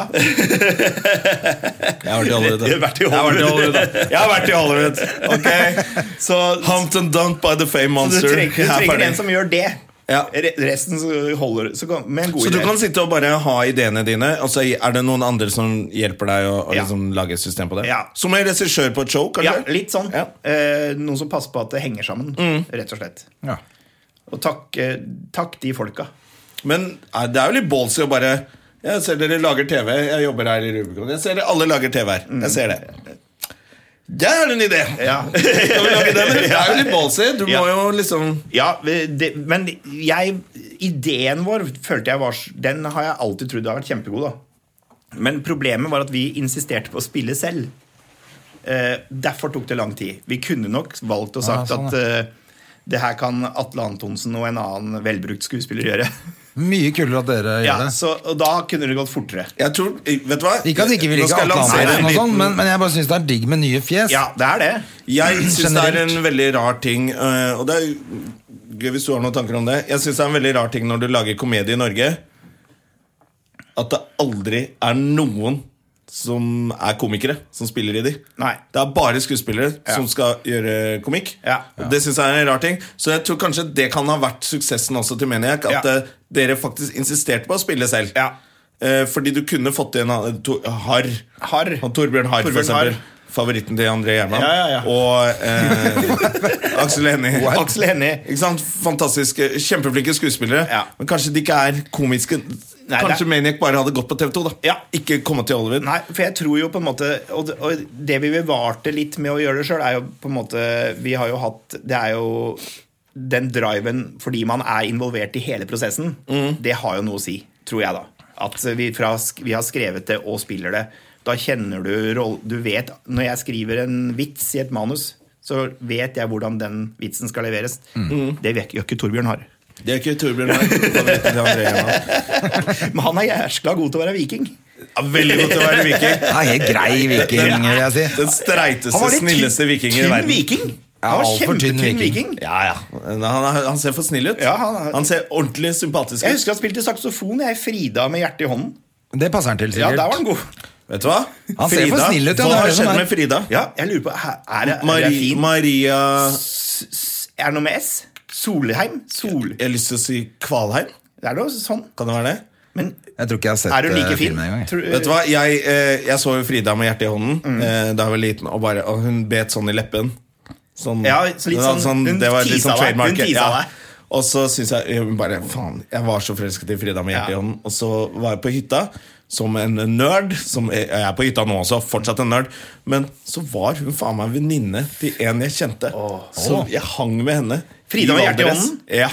Jeg har vært i Hollywood.
*laughs* Jeg har vært i
Jeg har vært
Hollywood.
i Hollywood. da. Jeg har vært i Hollywood. Ok
Så,
Humped and dumped by the fame
så du
monster.
trenger, du
Jeg er
trenger
ferdig.
en som gjør det.
Ja.
Re resten så holder så kan, med en god
Så du
idé.
kan sitte og bare ha ideene dine, og så er det noen andre som hjelper deg å, å
Ja.
liksom lage et system på det?
Ja.
Som en regissør på et show,
ja,
kanskje?
litt sånn.
Ja. Mm.
Eh, noen som passer på at det henger sammen, rett og slett.
Ja.
Og takk, eh, takk de folka.
Men eh, det er jo litt ballsy å bare Jeg ser dere lager TV, jeg jobber her i Rubicon. Jeg ser dere alle lager TV her. Jeg ser det. Der er det en idé!
Ja. *laughs*
Skal vi lage den? Det er jo litt ballsy. Du
Ja.
må jo liksom
Ja, det, men jeg, ideen vår følte jeg var s- Den har jeg alltid trodd har vært kjempegod. da Men problemet var at vi insisterte på å spille selv. Eh, derfor tok det lang tid. Vi kunne nok valgt og sagt
Ja, sånn,
at eh, det her kan Atle Antonsen og en annen velbrukt skuespiller gjøre. *laughs*
Mye kulere at dere
Ja,
gjør det.
så, og da kunne det gått fortere.
Jeg tror, Vet du hva?
Ikke at vi ikke vil
Nå
ikke
skal jeg
Atle
lansere
Antonsen
en
og sånn,
liten-
men, men jeg bare syns det er digg med nye fjes. *laughs*
Ja, det er det.
Jeg syns det er
Generelt.
en veldig rar ting eh, Og det er gøy hvis du har noen tanker om det Jeg syns det er en veldig rar ting når du lager komedie i Norge At det aldri er noen som er komikere Som spiller i de
Nei.
Det er bare skuespillere som skal gjøre komikk
Ja.
Og Det syns jeg er en rar ting Så jeg tror kanskje det kan ha vært suksessen også til Maniac At
Ja.
eh, dere faktisk insisterte på å spille selv
Ja.
Eh, Fordi du kunne fått inn eh, to, Harr
Harr.
Han Torbjørn Harr for
Torbjørn Harr.
eksempel Favoritten til André Gjermann
Ja, ja, ja.
og
*laughs*
eh, Aksel Hennie.
What?
Aksel Hennie.
Ikke sant? Fantastiske, kjempeflinke skuespillere.
Ja.
Men kanskje de ikke er komiske.
Nei,
kanskje
det-
Maniac bare hadde gått på TV2. da
Ja.
Ikke kommet til Hollywood.
Nei, for jeg tror jo på en måte Og det, og det vi bevarte litt med å gjøre det sjøl, er jo på en måte Vi har jo hatt Det er jo den driven fordi man er involvert i hele prosessen. Det har jo noe å si, tror jeg, da. At vi, fra, sk- vi har skrevet det og spiller det. Da kjenner du roll... Du vet Når jeg skriver en vits i et manus, så vet jeg hvordan den vitsen skal leveres. Det vet- gjør ikke Torbjørn Harr.
Det er ikke Torbjørn Harr.
*laughs*
favoritten til André Gjermann.
Men han er jæskla god til å være viking.
Ja, veldig godt til å være viking.
Det er helt grei viking, vil jeg si.
Den streiteste,
litt tynn-
snilleste vikingen i
tynn
verden.
Viking.
Ja,
Han var
alt for tynn
kjempetynn viking.
viking.
Ja, ja. Men Han, er- han ser for snill ut.
Ja, han er-
han ser ordentlig sympatisk
Jeg
ut.
husker han spilte saksofon. Jeg Frida med hjertet i hånden.
Det passer han til,
Ja,
sikkert.
der var han god.
Vet du hva?
Han ser for snill ut, ja, det
Hva
er
har
det som
skjedd
er.
med Frida?
Ja, jeg lurer på Er, er, det, er, det
Marie,
fin?
Maria
er det noe med S? Solheim? Sol...
Jeg har lyst til å si Kvalheim.
Det er noe sånn.
Kan det være det?
Men
Jeg tror ikke jeg har sett
er hun
eh,
like fin?
filmen engang. jeg.
Tror-
Vet du hva, jeg, eh, jeg så jo Frida med hjertet i hånden
Mm.
eh, da jeg var liten, og, bare, og hun bet sånn i leppen. Sånn,
Ja, så litt
det var
sånn- hun
det var litt
tisa deg,
sånn
hun
trademarket,
tisa
ja.
deg.
Og så syns jeg jeg bare Faen, jeg var så forelsket i Frida med hjertet i
Ja.
hånden. Og så var jeg på hytta som en nerd. Som eh, jeg jeg er på hytta nå også, fortsatt en nerd. Men så var hun faen meg venninne til en jeg kjente. Så jeg hang med henne.
Frida med hjertet i
Valdres.
hånden?
Ja.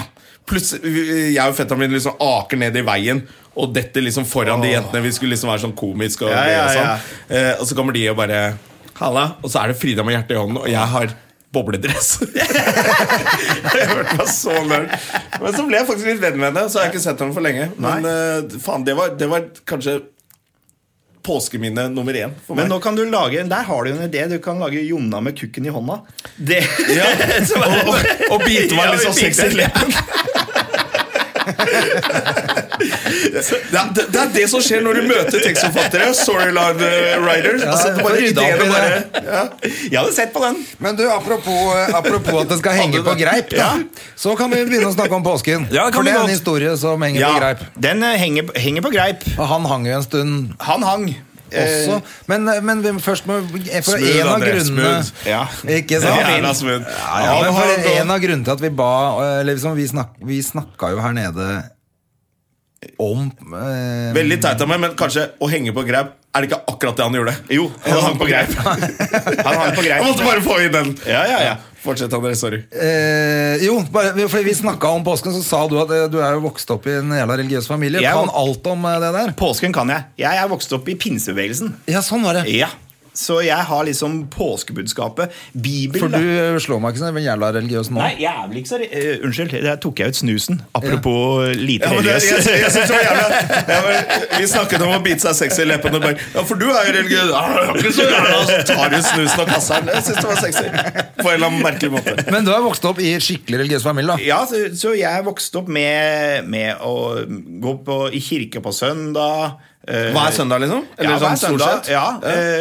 Plutselig, jeg og fetteren min liksom aker ned i veien og detter liksom foran de jentene. Vi skulle liksom være sånn komisk og,
Ja, ja, ja.
og sånn. Eh, og så kommer de og bare Halla. Og så er det Frida med hjertet i hånden, og jeg har bobledress. *laughs* jeg følte meg så nerd. Men så ble jeg faktisk litt venn med henne, så har jeg ikke sett henne for lenge. Men eh, faen, det var, det var kanskje påskeminne nummer én for
Men
meg.
nå kan du lage Der har du jo en idé. Du kan lage Jonna med kukken i hånda. Det *laughs*
ja. og, og, og bite meg
Ja,
litt
vi
sånn
fikk
sexy
det.
i leppen. Det er, det er det som skjer når du møter tekstforfattere. Sorry, Lord eh, Writer. Altså, det er
får
bare
rydda opp
ideene
i
bare
det.
ja. Jeg hadde sett på den.
Men du, apropos, eh, apropos at det
*laughs*
skal henge på greip, da, så kan vi begynne å snakke om påsken.
Ja, kan
For
vi
det er en
godt.
historie som henger på greip.
den eh, henger, henger på greip.
Og han hang jo en stund
Han hang. Eh,
også. Men, eh, men vi må først må For
Smooth,
en av
André,
grunnene
smooth. *laughs* Ja.
Ikke sant?
Jævla smooth.
Ja, ja, men for en av grunnene til at vi ba eh, Eller liksom, vi, snak, vi snakka jo her nede om eh,
Veldig teit av meg, men kanskje å henge på greip Er det ikke akkurat det han gjorde?
Jo, han hang på greip. Han hang på
Jeg måtte
greip.
bare få inn den.
Ja, ja, ja.
Fortsett, André. Sorry.
Eh, jo, bare, vi- fordi vi snakka om påsken, så sa du at eh, du er jo vokst opp i en jævla religiøs familie.
Jeg er
kan
vok-
alt om eh, det der?
Påsken kan jeg. Jeg er vokst opp i pinsebevegelsen.
Ja, sånn var det.
Ja. Så jeg har liksom påskebudskapet. Bibelen
For
da.
du eh, slår meg ikke som en jævla religiøs nå.
Nei, jævlig ikke så re- eh, Unnskyld, der tok jeg ut snusen. Apropos eh, lite
Ja, men det, jeg,
religiøs.
jeg, jeg synes det var jævla
*laughs*
ja, men, Vi snakket om å bite seg sexy i leppene. og bare, Ja, for du er jo religiøs. Ja, jeg er ikke så gæren, og så tar du snusen og kasser den. Jeg synes det var sexy. På en eller annen merkelig måte.
Men du er vokst opp i skikkelig religiøs familie, da.
Ja, så, så jeg vokste opp med, med å gå på, i kirke på søndag,
Hver søndag, liksom? Eller
ja,
sånn
hver
stort
søndag,
sett?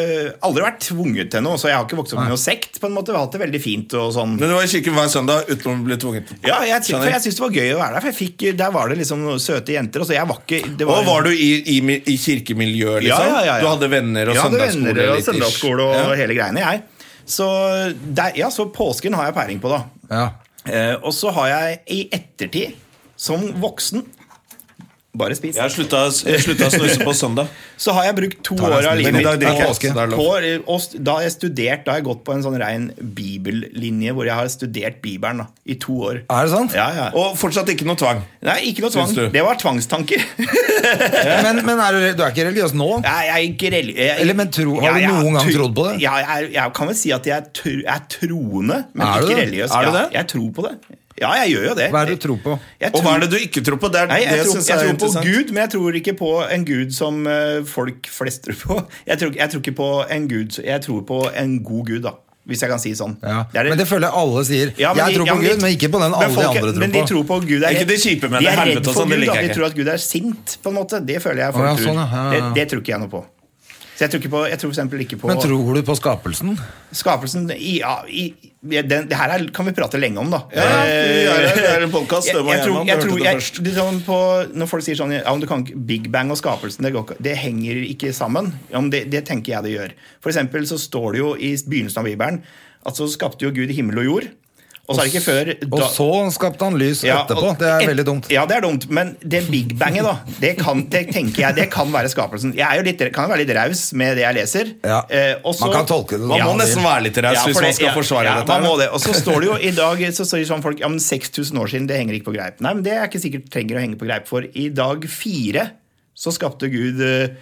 ja, eh, aldri vært tvunget til noe, så jeg har ikke vokst opp i noe sekt. på en måte, Vi har hatt det veldig fint og sånn.
Men du var i kirken hver søndag uten å bli tvunget?
Ja, jeg,
Skjønner.
for jeg syntes det var gøy å være der, for jeg fikk, der var det liksom noen søte jenter. Og så jeg var ikke det
Og var du i, i, mi- i
Ja,
kirkemiljøet, liksom?
ja, ja, ja.
Du hadde venner og
Ja, hadde
søndagsskole?
venner og
litt ish.
søndagsskole og
Ja.
hele greiene, jeg. Så, der, ja, så påsken har jeg peiling på, da.
Ja.
Eh, og så har jeg i ettertid, som voksen Bare spis.
Jeg slutta, jeg slutta å snuse på søndag.
Så har jeg brukt to
deg
år av
en
livet
snus.
mitt
Men i dag drikker jeg
på-
ikke, så det er lov.
på- eh, og st- Da har jeg studert, da har jeg gått på en sånn rein bibellinje hvor jeg har studert Bibelen da, i to år.
Ah.
Er det sant?
Ja, ja. Og,
Og fortsatt ikke noe tvang.
nei, ikke noe
Syns du?
tvang. Det var tvangstanker. *laughs*
Men, men er du, du er ikke religiøs nå?
Nei, jeg er ikke relig- jeg-
Eller, men tro- har du
jeg er
noen gang
tro-
trodd på det?
Ja, jeg, er- jeg kan vel si at jeg er, tro, jeg er troende, men
Er du
ikke
det?
religiøs.
Er du
ja,
det?
Jeg tror på det. Ja, jeg gjør jo det.
Hva er det du tror på?
Jeg
Og hva er det du ikke tror på? Det er
Nei, jeg,
det
tror,
synes
jeg
er
tror på
interessant.
Gud, men jeg tror ikke på en Gud som eh, folk flest tror *laughs* på. Jeg tror, jeg tror ikke på en Gud, så jeg tror på en god Gud, da. Hvis jeg kan si sånn.
Ja.
Det er det-
Men det føler jeg alle sier.
Ja, men
jeg
de-
tror
ja,
på
men de-
Gud, men ikke på den
men
alle de
folk-
andre tror
men de
på.
tror på Gud er
Ikke
redd-
de kjipe,
de
men det
er redd
helvete og
for
sånn, det
Gud,
liker
da.
jeg
De
ikke.
tror at Gud er sint, på en måte. Det føler jeg
Å,
folk
ja,
tror.
sånn, ja, ja, ja.
Det, det tror ikke jeg noe på. Så jeg tror ikke på, jeg tror for eksempel ikke på
Men tror du på skapelsen?
skapelsen i, ja, i, den, Det her er, kan vi prate lenge om, da.
Ja, vi gjør det. Det er en
Jeg,
podcast, det må
jeg tror,
Gjerman,
jeg
du
tror
hørte det
jeg,
først.
det er sånn på, Når folk sier sånn ja, om du kan, ikke- Big Bang og skapelsen det, går, ikke- det henger ikke sammen. Ja, men det, det tenker jeg det gjør. For eksempel så står det jo i begynnelsen av Bibelen at så skapte jo Gud himmel og jord. Og så er det ikke før
Og
da-
så skapte han lys
ja,
etterpå.
og-
Det er
et-
veldig dumt.
Ja, det er dumt, men det big banget, da, det kan, det tenker jeg, det kan være skapelsen. Jeg er jo litt, kan være litt raus med det jeg leser. Eh,
Ja.
og så-
Man kan tolke det
Man
Ja,
må
det-
nesten være litt raus
Ja,
hvis
for
man
det-
skal
ja,
forsvare
ja,
dette. her,
Man må
da.
det. Og så står det jo i dag så står det sånn folk, ja, men 6000 år siden, det henger ikke på greip. Nei, men det er ikke sikkert trenger å henge på greip for. I dag fire så skapte Gud eh,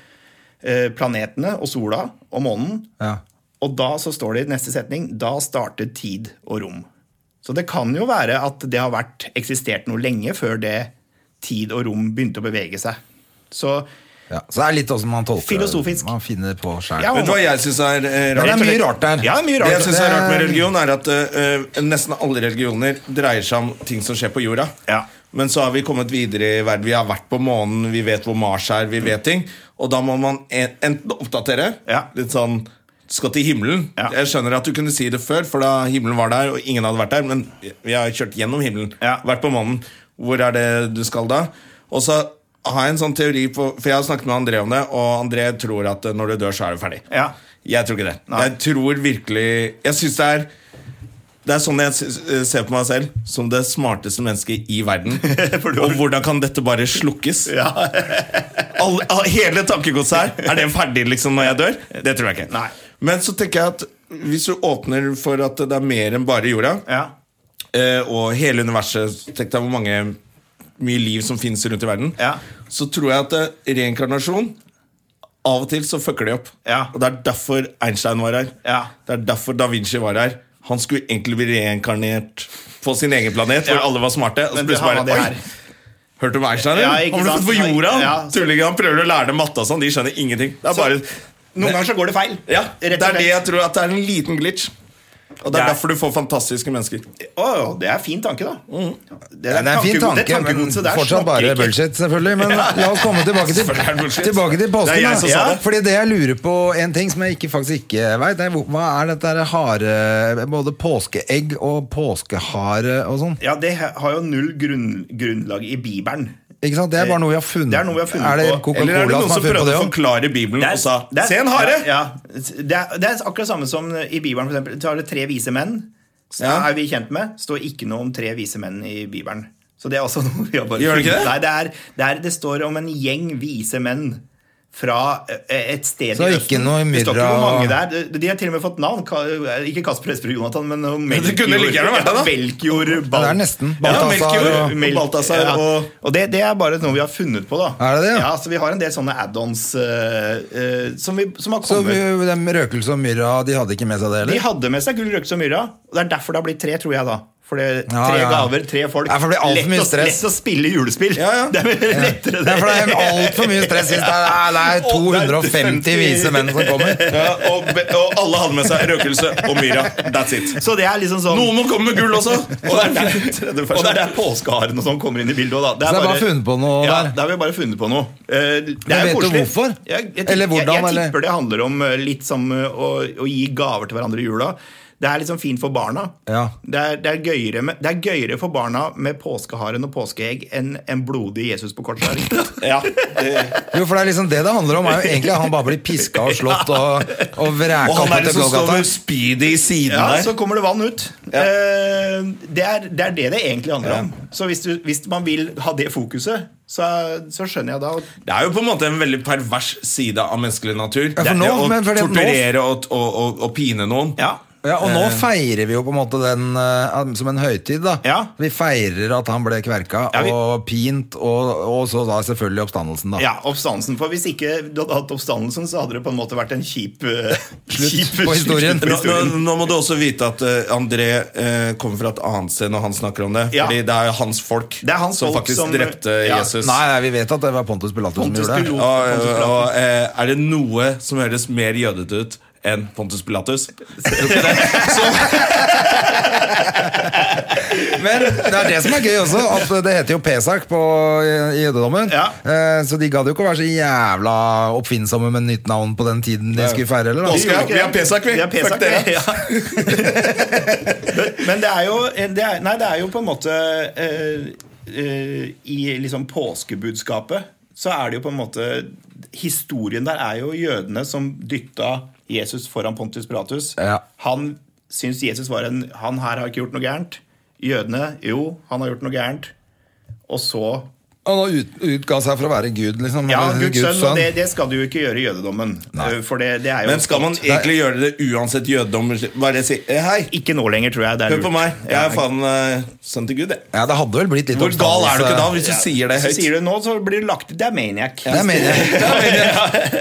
eh, planetene og sola og månen.
Ja.
Og da så står det i neste setning da startet tid og rom. Så det kan jo være at det har vært eksistert noe lenge før det tid og rom begynte å bevege seg. Så
Ja, så det er litt åssen man tolker
Filosofisk.
det. Man finner på selv.
Ja,
Vet du hva jeg syns er eh,
Men
rart?
det er mye
eller?
rart der.
Ja, mye
Det
rart.
jeg synes er rart med
Det-
religion, er at eh, eh, nesten alle religioner dreier seg om ting som skjer på jorda.
Ja.
Men så har vi kommet videre i verden. Vi har vært på månen, vi vet hvor Mars er, vi vet ting. Og da må man en- enten oppdatere
Ja.
litt sånn skal til himmelen.
Ja.
Jeg skjønner at du kunne si det før, for da himmelen var der, og ingen hadde vært der, men vi har kjørt gjennom himmelen.
Ja.
Vært på månen. Hvor er det du skal da? Og så har jeg en sånn teori på For jeg har snakket med André om det, og André tror at eh, når du dør, så er du ferdig.
Ja.
Jeg tror ikke det.
Nei.
Jeg tror virkelig Jeg syns det er det er sånn jeg s- s- ser på meg selv, som det smarteste mennesket i
*laughs*
verden. Og hvordan kan dette bare slukkes? *laughs* All, all, hele tankegodset her, er det ferdig liksom når jeg dør? Det tror jeg ikke.
Nei.
Men så tenker jeg at hvis du åpner for at det er mer enn bare jorda,
ja.
eh, og hele universet Tenk deg hvor mange mye liv som finnes rundt i verden.
Ja.
Så tror jeg at eh, reinkarnasjon Av og til så fucker de opp.
Ja.
Og det er derfor Einstein var her.
Ja.
Det er derfor Da Vinci var her. Han skulle egentlig bli reinkarnert på sin egen planet, hvor
Ja.
alle var smarte. Og så
Men det
plutselig
har det
bare
her.
Oi! Hørte du om Einstein? eller?
Ja, ikke
han ble
sant?
født på jorda!
Ja,
han.
så-
Tullingen, han prøver å lære dem matte og sånn. De skjønner ingenting. Det er
Så-
bare
Noen ganger så går det feil.
ja, Det
rett og
er det
slett.
jeg tror at det er en liten glitch. Og det
Det
er
er-
derfor du får fantastiske mennesker.
Å, det er fin tanke, da. Det,
Mm. Ja, det er en fin
tankego- det
tanke, men
tankegodset der
fortsatt
snakker
bare
ikke.
bullshit, selvfølgelig. Men la oss komme tilbake
*laughs*
til,
Selvfølgelig er det bullshit.
tilbake til
Det er jeg
påsken.
som
Da.
sa
Ja,
det.
fordi det jeg lurer på, en ting som jeg ikke, faktisk ikke veit, er hvor- hva er dette her hare Både påskeegg og påskehare og sånn.
Ja, det har jo null grunn, grunnlag i Bibelen.
Ikke sant? Det er bare noe vi har funnet,
Det er noe vi har funnet
Er det
på.
Coca-Cola
Eller er det noen
som har
som
funnet på
prøvde
det
å
også?
forklare Bibelen og sa
det er-
'se en
Ja,
hare'?
ja. Det, er, det er akkurat samme som i Bibelen, for eksempel. Så har det tre vise menn. Så
Ja.
er vi kjent med. Står ikke noe om tre vise menn i Bibelen. Så det er også *laughs* noe vi har bare
Gjør det ikke det?
Nei, det, er, det, er, det står om en gjeng vise menn fra eh, et sted
Så
i
ikke
Østen.
noe
det står ikke
myrra-
hvor mange der. De- De har til og med fått navn. Ka- eh, Ikke Kasper Esper og Jonathan, men noe
Men *laughs* det kunne
Melchior-
like gjerne vært det, da.
Ja, Melchior Bal-
Ja, det er nesten.
Ja,
Balthasar
Melchior,
og-
Mel-
Balthasar
ja.
og-
Og det, det er bare noe vi har funnet på, da.
Er det det, ja?
Ja, så Altså, vi har en del sånne add-ons eh, eh, som, vi- som har
Så
kommet.
vi, dem Røkelse og Myrra, de hadde ikke med seg det
De
heller?
hadde med seg gull, røkelse og myrra. Og det er derfor det har blitt tre, tror jeg da. For det, tre
Ja, ja, ja.
gaver, tre folk.
Ja, for det blir alt for mye
lett, å,
stress.
lett å spille julespill.
Ja, ja.
*laughs* Det er mye lettere,
Det er for det er altfor mye stress hvis det er, det er 250 vise menn som kommer.
Ja, og, be- og alle hadde med seg røkelse og myra. That's it.
Så det er liksom sånn
Noen må komme med gull
*laughs*
også!
Og det er der, og det er der påskeharen og sånn kommer inn i bildet òg, da.
Så det er bare funnet på noe
ja,
der.
Da har vi bare funnet på noe. Eh, Det
Men
er jo
vet du
koselig.
hvorfor?
Jeg, jeg,
Eller
Jeg,
hvordan,
jeg
eller?
tipper det handler om eh, litt som eh, å, å gi gaver til hverandre i jula. Det er liksom fint for barna.
Ja.
Det, er, det, er gøyere med, det er gøyere for barna med påskeharen og påskeegg enn en blodig Jesus på korset. er
*laughs*
det ikke?
Ja, det-
Jo, for det er liksom det det handler om. Er jo egentlig at Han bare blir piska og slått og, og
Og
vreka
han
opp
er
etter
liksom står
Golgata.
med speedy i siden
Ja,
der.
så kommer det vann ut. Eh, Det, er, det er det det egentlig handler om. Så hvis, du, hvis man vil ha det fokuset, så, så skjønner jeg da at
Det er jo på en måte en veldig pervers side av menneskelig natur.
for
Det er
nå-
å
men fordi at nå-
torturere og, og, og, og pine noen.
Ja.
Ja, og nå
Eh.
feirer vi jo på en måte den eh, som en høytid, da.
Ja.
Vi feirer at han ble kverka
Ja, vi-
og pint, og, og så da selvfølgelig oppstandelsen, da.
Ja, oppstandelsen. For hvis ikke du hadde hatt oppstandelsen, så hadde det på en måte vært en kjip eh,
Slutt
kjip-
på historien.
slutt på
Nå, nå,
historien.
nå må du også vite at eh, André eh, kommer fra et annet sted når han snakker om det.
Ja.
Fordi det er jo hans folk
Det er hans
som
folk
faktisk
som-
drepte
Ja.
Jesus.
Nei, nei, vi vet at det var Pontus Pilatus som
Pontus
gjorde det.
Og,
Pilatus.
og, og, eh, er det noe som høres mer jødete ut enn Pontus
*laughs*
Pilatus? Tror ikke det?
Men det er det som er gøy også, at det heter jo Pesak på, i jødedommen.
Ja.
Eh, Så de gadd jo ikke å være så jævla oppfinnsomme med nytt navn på den tiden de skulle feire. Eller, da.
Påske. vi har Pesak,
Vi
vi.
har Pesak,
Fuck dere.
vi. Ja. *laughs* Men det er jo eh, det er, Nei, det er jo på en måte eh, eh, I liksom påskebudskapet så er det jo på en måte Historien der er jo jødene som dytta Jesus foran Pontus Pilatus.
Ja.
Han syns Jesus var en Han her har ikke gjort noe gærent. Jødene jo, han har gjort noe gærent. Og så
Og nå ut, utga seg for å være Gud, liksom.
Ja,
eller
Guds sønn, og det, det skal du jo ikke gjøre i jødedommen. Eh,
Nei.
For det, det er jo
Men skal man egentlig gjøre det uansett jødedom? Bare si eh, hei,
Ikke nå lenger, tror jeg. Det er
hør på
lurt.
meg. Jeg er faen eh, sønn til Gud, jeg.
Ja, det hadde vel blitt litt
Hvor gal er du ikke da hvis du
Ja.
sier det
Så
høyt?
sier du nå, så blir du lagt Det er maniac.
Det er meningen.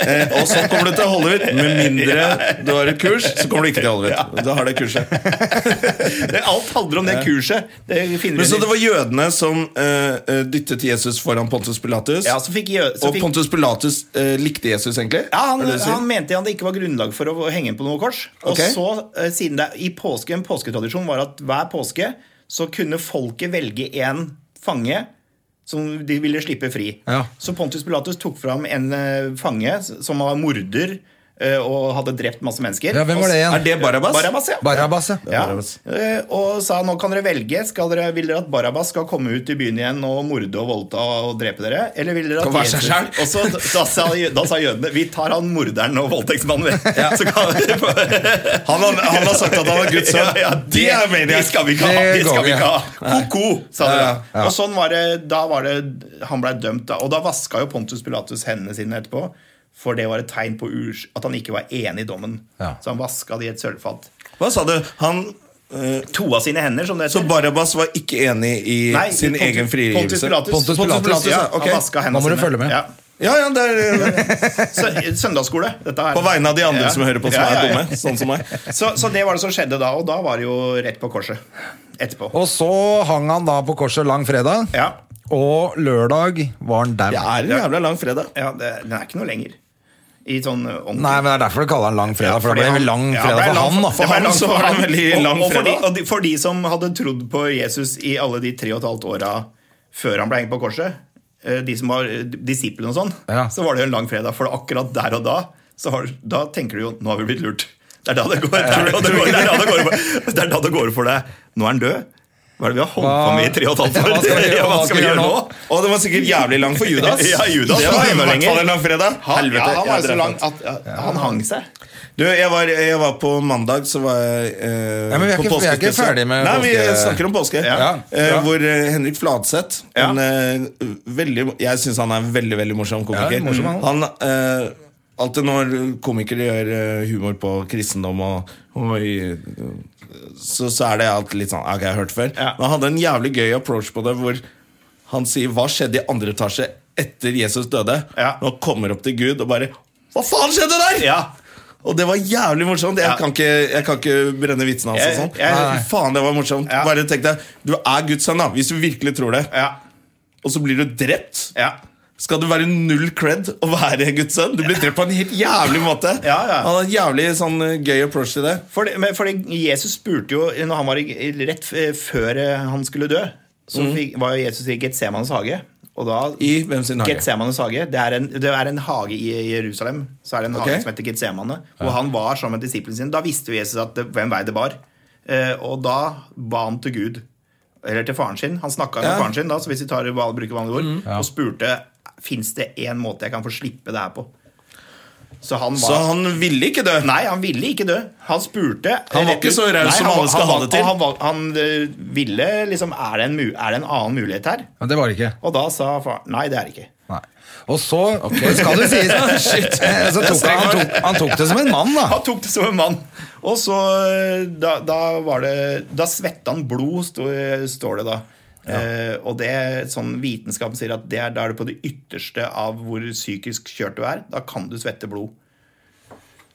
Eh, Og sånn kommer du til *laughs* Hollywood. Med mindre du har et kurs, så kommer du ikke til Hollywood. Da har det *laughs* kurset.
Det- Alt handler om det kurset. Det finner
Men
du
Så det
ut.
var jødene som eh, eh, dyttet Jesus foran Pontus Pilatus?
Ja, så fikk, jø- så
og
fikk,
Pontus Pilatus eh, likte Jesus, egentlig?
ja, han,
Er det det du sier?
han mente han det ikke var grunnlag for å henge på noe kors. Og
Ok.
så, eh, siden det i påske, en påsketradisjon var at hver påske så kunne folket velge en fange som de ville slippe fri.
Ja.
Så Pontus Pilatus tok fram en eh, fange s- som var morder eh, og hadde drept masse mennesker.
Ja, hvem var det igjen?
Er det Barabbas?
Barabbas, ja.
Barabbas, ja.
Ja.
Barabbas.
eh, Og sa nå kan dere velge. Skal dere, vil dere at Barabbas skal komme ut i byen igjen og morde og voldta og drepe dere? Eller vil dere
Kan
at
være seg selv.
Og så, da, sa, da sa jødene vi tar han morderen og voldtektsmannen. vi." *laughs* Så kan
Han, har- han har sagt at han er Guds sønn.
*laughs* Ja, ja,
det er
Det
maniac!
skal vi ikke ha!
Det
Det skal
går
vi
vi.
ikke ha. Ko-ko, sa de da.
Ja,
Og sånn var det, da var det han blei dømt, da. Og da vaska jo Pontus Pilatus hendene sine etterpå. For det var et tegn på urs, at han ikke var enig i dommen.
Ja.
Så han vaska de i et sølvfat.
Hva sa du? Han eh,
To av sine hender, som det
Så
heter.
Barabbas var ikke enig i sin
Pontus-
egen
Pontus
frigivelse?
Pilatus.
Pontus Pilatus,
ja,
ja,
ok.
Han vaska hendene
Nå må du
sine.
følge med.
Ja.
Ja, ja, det er,
Sø- Søndagsskole. Dette her.
på vegne av de andre
Ja.
som hører på, som
Ja, ja,
er
ja.
dumme. Sånn som meg.
*laughs* Så, så det var det som skjedde da, og da var det jo rett på korset. Etterpå.
Og så hang han da på korset lang fredag,
Ja.
og lørdag var han dau.
Det er en jævla lang fredag.
ja det, den er ikke noe lenger. I sånn uh, ordentlig
Nei, men Det er derfor de kaller han lang fredag,
Ja,
for
fordi
det ble
han-
vel lang
ja,
fredag
det ble
for
lang-
han, da.
for han så var det en veldig lang
og, og, for de,
fredag.
og de, for de som hadde trodd på Jesus i alle de tre og et halvt åra før han ble hengt på korset, eh, de som var eh, disiplene og sånn,
Ja.
så var det jo en lang fredag. For akkurat der og da, så har, da tenker du jo nå har vi blitt lurt. Det er da det går, *laughs* det er da det går, det er da det går, for- det er da det går for deg. Nå er han død. Hva er det vi har holdt på med i tre og et halvt år?
Hva
*laughs*
skal vi gjøre-
Ja, hva skal vi gjøre nå?
Og den var sikkert jævlig lang for Judas.
*laughs* Ja, Judas
det
var
var i
enda
hvert
lenger.
fall en lang fredag.
Han, ja, han var
jeg
jo så
drev
lang
den.
at ja, han hang seg.
Du, jeg var, jeg var på mandag, så var jeg eh,
Ja, men vi er
på
ikke- vi er ikke
påskespesial.
ferdig med
Nei, vi
påske-
snakker om påske.
Ja,
Eh,
bra.
hvor eh, Henrik Fladseth
Ja.
en, eh, veldig, Jeg syns han er en veldig veldig morsom komiker.
Ja, morsom han.
han eh, Alltid når komikere gjør eh, humor på kristendom og, og i- så, så er det alltid litt sånn Ok, jeg har hørt før.
Ja.
Men han hadde en jævlig gøy approach på det, hvor han sier 'Hva skjedde i andre etasje etter Jesus døde?'
Ja.
Når han kommer opp til Gud og bare 'Hva faen skjedde der?!'
Ja.
Og det var jævlig morsomt. Jeg,
Ja.
kan, ikke, jeg kan ikke brenne vitsen hans. og
Jeg-
sånn
jeg-
Nei. Fy Faen, det var morsomt.
Ja.
Bare tenk deg, du er Guds sønn, da, hvis du virkelig tror det.
Ja.
Og så blir du drept.
Ja.
Skal du være null cred å være Guds sønn? Du blir drept på en helt jævlig måte.
*laughs* Ja, ja.
Han har en jævlig sånn eh, gøy approach til det.
Fordi, men fordi Jesus spurte jo når han var i, i- rett f- før eh, han skulle dø, så
Mhm.
fikk, var jo Jesus i Getsemanes hage. Og da
I hvem sin hage?
Getsemanes hage. Det er, en, det er en hage i Jerusalem. Så er det en
Ok.
hage som heter Getsemane. Og han var sammen med disiplene sine. Da visste jo Jesus at det, hvem vei det bar. Eh, og da ba han til Gud. Eller til faren sin. Han snakka
Ja. Mhm.
med faren sin, da, så hvis vi tar, val- bruker vanlige ord, og spurte fins det én måte jeg kan få slippe det her på. Så han var
Så han ville ikke dø.
Nei, han ville ikke dø. Han spurte.
Han var ikke så
Nei,
raus som
han-
alle skal
han-
ha det til.
Han, han, han eh, ville liksom er det, en, mu- er det en annen mulighet her?
Men det var det ikke.
Og da sa faren nei, det er det ikke.
Nei. Og så det
*laughs*
skal det sies Shit. Så tok han, han, tok, han tok det som en mann, da.
Han tok det som en mann. Og så eh, da, da var det Da svetta han blod, sto, står det da. Eh, og det sånn vitenskapen sier at det er, da er du på det ytterste av hvor psykisk kjørt du er. Da kan du svette blod.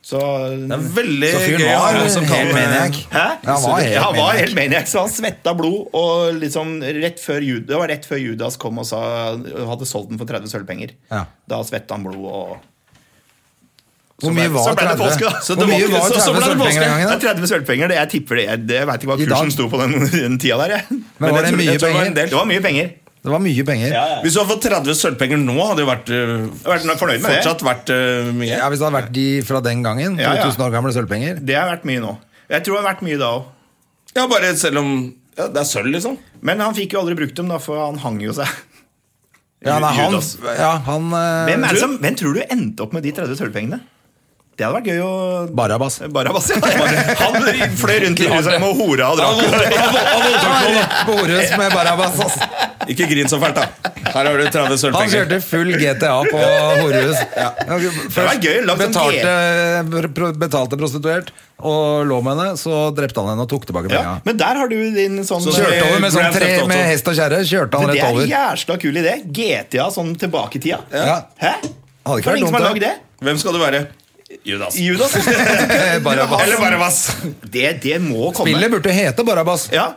Så
Det er veldig
Så fyren
gøy å ha
var
noen som
helt
kan
maniac.
Hæ?
Ja, han var helt
Ja, han var
maniac.
helt maniac, så han svetta blod. Og liksom rett før Judas, det var rett før Judas kom og sa, hadde solgt den for 30 sølvpenger.
Ja.
Da svetta han blod. og
Hvor mye var
så ble det
30?
påske, da. Så
Hvor
det
mye
var-
var
så- så ble
30
det
sølvpenger den
Det er
gangen? da?
30 sølvpenger. det- Jeg tipper det. Jeg, det- jeg veit ikke hva
I dag.
kursen sto på den, den tida der. Jeg.
Men var det
jeg tror- jeg
mye
tror var
penger?
en del. Det var mye penger.
Det var mye penger.
Hvis du hadde fått 30 sølvpenger nå, hadde det jo vært, eh,
Vært no- fornøyd med det.
fortsatt vært eh, mye.
Ja, Hvis det hadde vært de fra den gangen,
Ja, ja.
2000 år gamle sølvpenger
Det har vært mye nå. Jeg tror det har vært mye da òg.
Ja, bare selv om ja, Det er sølv, liksom.
Men han fikk jo aldri brukt dem, da, for han hang jo seg.
*laughs* Ja, nei, han,
Judas.
ja, han eh,
Hvem, er det som, hvem tror du endte opp med de 30 sølvpengene? Det hadde vært gøy å Eh,
Barabbas.
Barabbas, ja.
*laughs*
Han fløy rundt i Jerusalem og hora og drakk.
Borus med Barabbas. ass.
*laughs* Ikke grin så fælt, da. Her har du 30
Han
sølvpenger.
kjørte full GTA på Horus.
Det var gøy, sånn lagd en
betalte, pro- betalte prostituert og lå med henne, så drepte han henne og tok tilbake
Ja,
penga.
men der har du din sånn
Så
Kjørte over med, sånn
Grand
tre,
Theft Auto.
med hest og kjerre. Kjørte han
Det
rett
er en
over.
jævla kul idé. GTA sånn tilbake i tida.
Ja.
Hæ?
Hadde ikke
For
vært
ingen som har
dumt,
lagd det?
Hvem skal du være? Judas.
Judas.
*laughs* Barabbas.
Eller Barabbas.
Det, det må komme.
Spillet burde hete Barabbas.
Ja.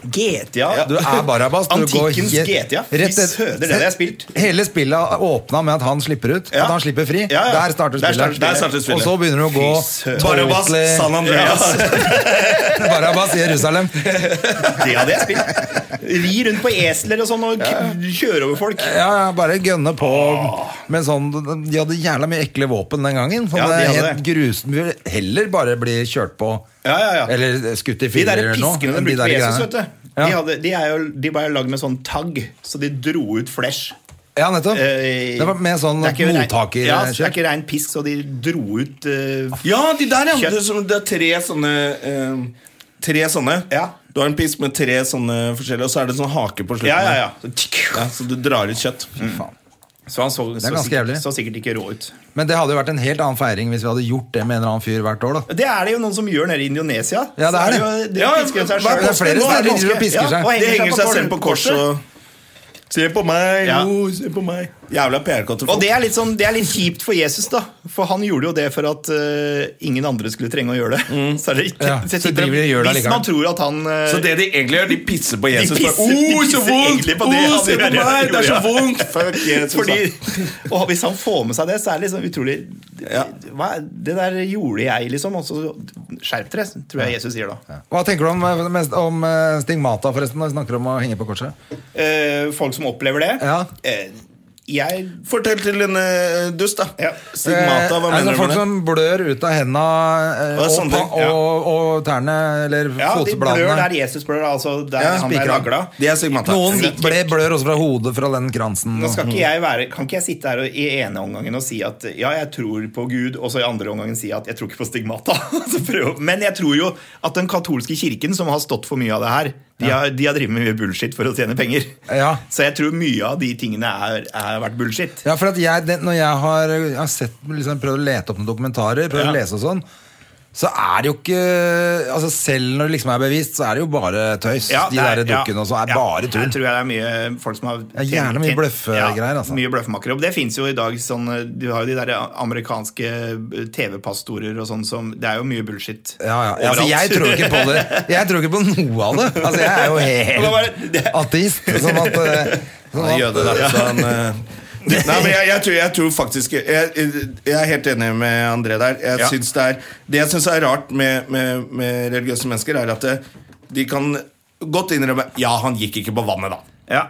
GTA.
Du er
*laughs*
Barabbas. Du går
Antikkens
helt-
GTA. Fy
rett-
søder, det har jeg spilt.
Hele spillet åpna med at han slipper ut.
Ja.
At han slipper fri.
Ja, ja.
Der starter
Der starter
spillet.
spillet. Der
starter spillet.
Og så begynner du å gå
søder.
Barabbas,
totally- *laughs*
San Andreas.
Barabbas i Jerusalem.
Det hadde jeg spilt. Ri rundt på esler og sånn og k- kjøre over folk.
Ja, ja, bare gønne på Men sånn, De hadde jævla mye ekle våpen den gangen. Sånn,
Ja,
det
de
er
hadde
helt grusomt. Vi vil heller bare bli kjørt på
Ja, ja, ja.
eller skutt
De
i
der
filler eller noe.
piskene de
enn
brukte
der
på Jesus,
greiene.
vet du. De, hadde, de, er jo, de var jo lagd med sånn tagg, så de dro ut flesh.
Ja, nettopp.
Eh,
det var med sånn
det er ikke rein-
mottaker...
Ja, så det er ikke rein pisk, så de dro ut eh,
Ja, de der, ja.
Kjøtt.
Det er, som, det er tre sånne eh, Tre sånne.
Ja.
Du har en pisk med tre sånne forskjellige, og så er det sånn hake på slutten.
Ja, ja, ja.
Ja, så du drar ut kjøtt.
Faen.
Så han så, så,
ganske
sikkert,
jævlig.
så sikkert ikke rå ut.
Men det hadde jo vært en helt annen feiring hvis vi hadde gjort det med en eller annen fyr hvert år. da
Det er det jo noen som gjør nede i Indonesia.
Ja, det
Så
er det.
jo- de
Ja,
pisker seg
hver
selv.
påske Det er flere nå som er det driver og pisker seg.
og
De henger seg selv på korset.
korset.
Og... Se på meg,
Ja.
jo, se på meg. Jævla PR-kott.
Og det er, litt sånn, det er litt kjipt for Jesus, da. For han gjorde jo det for at eh, ingen andre skulle trenge å gjøre det. Så er det ikke,
Ja, så driver de og gjør det
Hvis man
allikevel.
tror at han eh,
Så det de egentlig gjør, de pisser på Jesus.
pisser-
bare,
de
oh,
pisser
så vondt!
egentlig på det
oh,
han
se på
gjør, ja,
meg! Det er
*laughs*
så
ja.
vondt! Fuck Jesus.
Fordi,
da.
og hvis han får med seg det, så er det liksom utrolig hva, er- Det der gjorde jeg, liksom. Og så skjerp dere, tror jeg Jesus sier da.
Hva tenker du om, eh, mest, om eh, stigmata, forresten, når vi snakker om å henge på korset?
Eh, folk som opplever det.
Ja.
Eh, jeg
Fortell til en eh, dust, da.
Ja.
Stigmata, hva
Eh, altså,
mener du med
folk
det?
som blør ut av henda eh,
Hva er
og,
sånne
pa-
ting?
og,
Ja.
og, tærne, eller
Ja, de blør
fotbladene.
der Jesus blør, altså der
Ja,
han er
spikra.
ragla.
De er stigmata.
Noen
Sikkert.
ble blør også fra hodet fra den kransen.
Nå
og-
skal ikke jeg være, kan ikke jeg sitte her og, i ene omgangen og si at ja, jeg tror på Gud, og så i andre omgangen si at jeg tror ikke på stigmata. *laughs* Så prøv- Men jeg tror jo at den katolske kirken, som har stått for mye av det her, de har, de har drevet med mye bullshit for å tjene penger.
Ja.
Så jeg tror mye av de tingene er, er vært bullshit.
Ja, for at jeg, det, når jeg har, jeg har sett, liksom, prøvd å lete opp noen dokumentarer, prøvd
Ja.
å lese og sånn, så er det jo ikke altså Selv når det liksom er bevist, så er det jo bare tøys.
Ja,
de
det er-
der dukkene
ja,
og så er
ja,
bare
Jeg
tull.
tror jeg det er mye folk som har
er gjerne mye bløffgreier, altså.
Mye bløffmakere. Og det fins jo i dag sånn Du har jo de der amerikanske eh, TV-pastorer og sånn som Det er jo mye bullshit.
Ja, ja. ja, Altså,
overalt.
jeg tror ikke på det. Jeg tror ikke på noe av det. Altså, jeg er jo
*laughs* Men hva er
helt
det-
ateist. Sånn at, eh, sånn at
Jøde, da. Så han, eh, *laughs* Nei, men jeg, jeg, tror, jeg tror faktisk jeg, jeg er helt enig med André der. Jeg
Ja.
synes det, er, det jeg syns er rart med, med, med religiøse mennesker, er at det, de kan godt innrømme Ja, han gikk ikke på vannet, da.
Ja.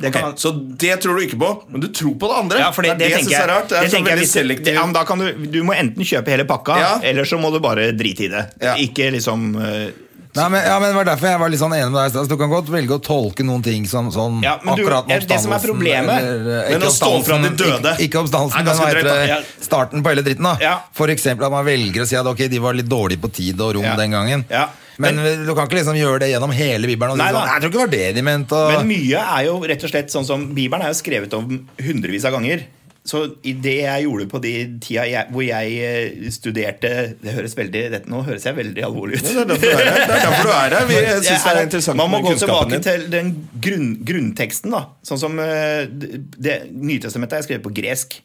Det
Ok,
kan man-
Så det tror du ikke på, men du tror på det andre.
Ja, for det, det,
er det jeg
tenker
synes
jeg
er rart. Det er
det
så
tenker jeg
veldig
hvis-
selektivt.
det- Ja, men da kan du, du må enten kjøpe hele pakka,
Ja.
eller så må du bare drite i det.
Ja.
Ikke liksom eh,
Nei, men, ja, men Det var derfor jeg var litt sånn enig med deg. i sted. Altså, du kan godt velge å tolke noen ting som sånn
Ja, men du-
akkurat
det- det som er problemet,
eh,
men
ikke
å stå fra
oppstandelsen-
de døde
Ikke, ikke
er
oppstandelsen, men
ganske
hva heter
drøyt,
det,
da.
starten på hele dritten. da
Ja.
For eksempel at man velger å si at ok, de var litt dårlige på tid og rom
Ja.
den gangen.
Ja.
Men, du kan ikke liksom gjøre det gjennom hele Bibelen. Og si
Nei, da.
sånn, jeg tror ikke det var det de mente. Og...
Men mye er jo rett og slett sånn som Bibelen er jo skrevet om hundrevis av ganger. Så i det jeg gjorde på de tida jeg, hvor jeg eh, studerte Det høres veldig dette, Nå høres jeg veldig alvorlig ut.
Det er derfor du er her. *laughs* Det er derfor du er her. Vi
Men
synes det
jeg
er
er-
interessant
Man må
med
gå
kunnskapen
tilbake
din.
til den grunn, grunnteksten. da Sånn som eh, det, Nytestamentet er skrevet på gresk.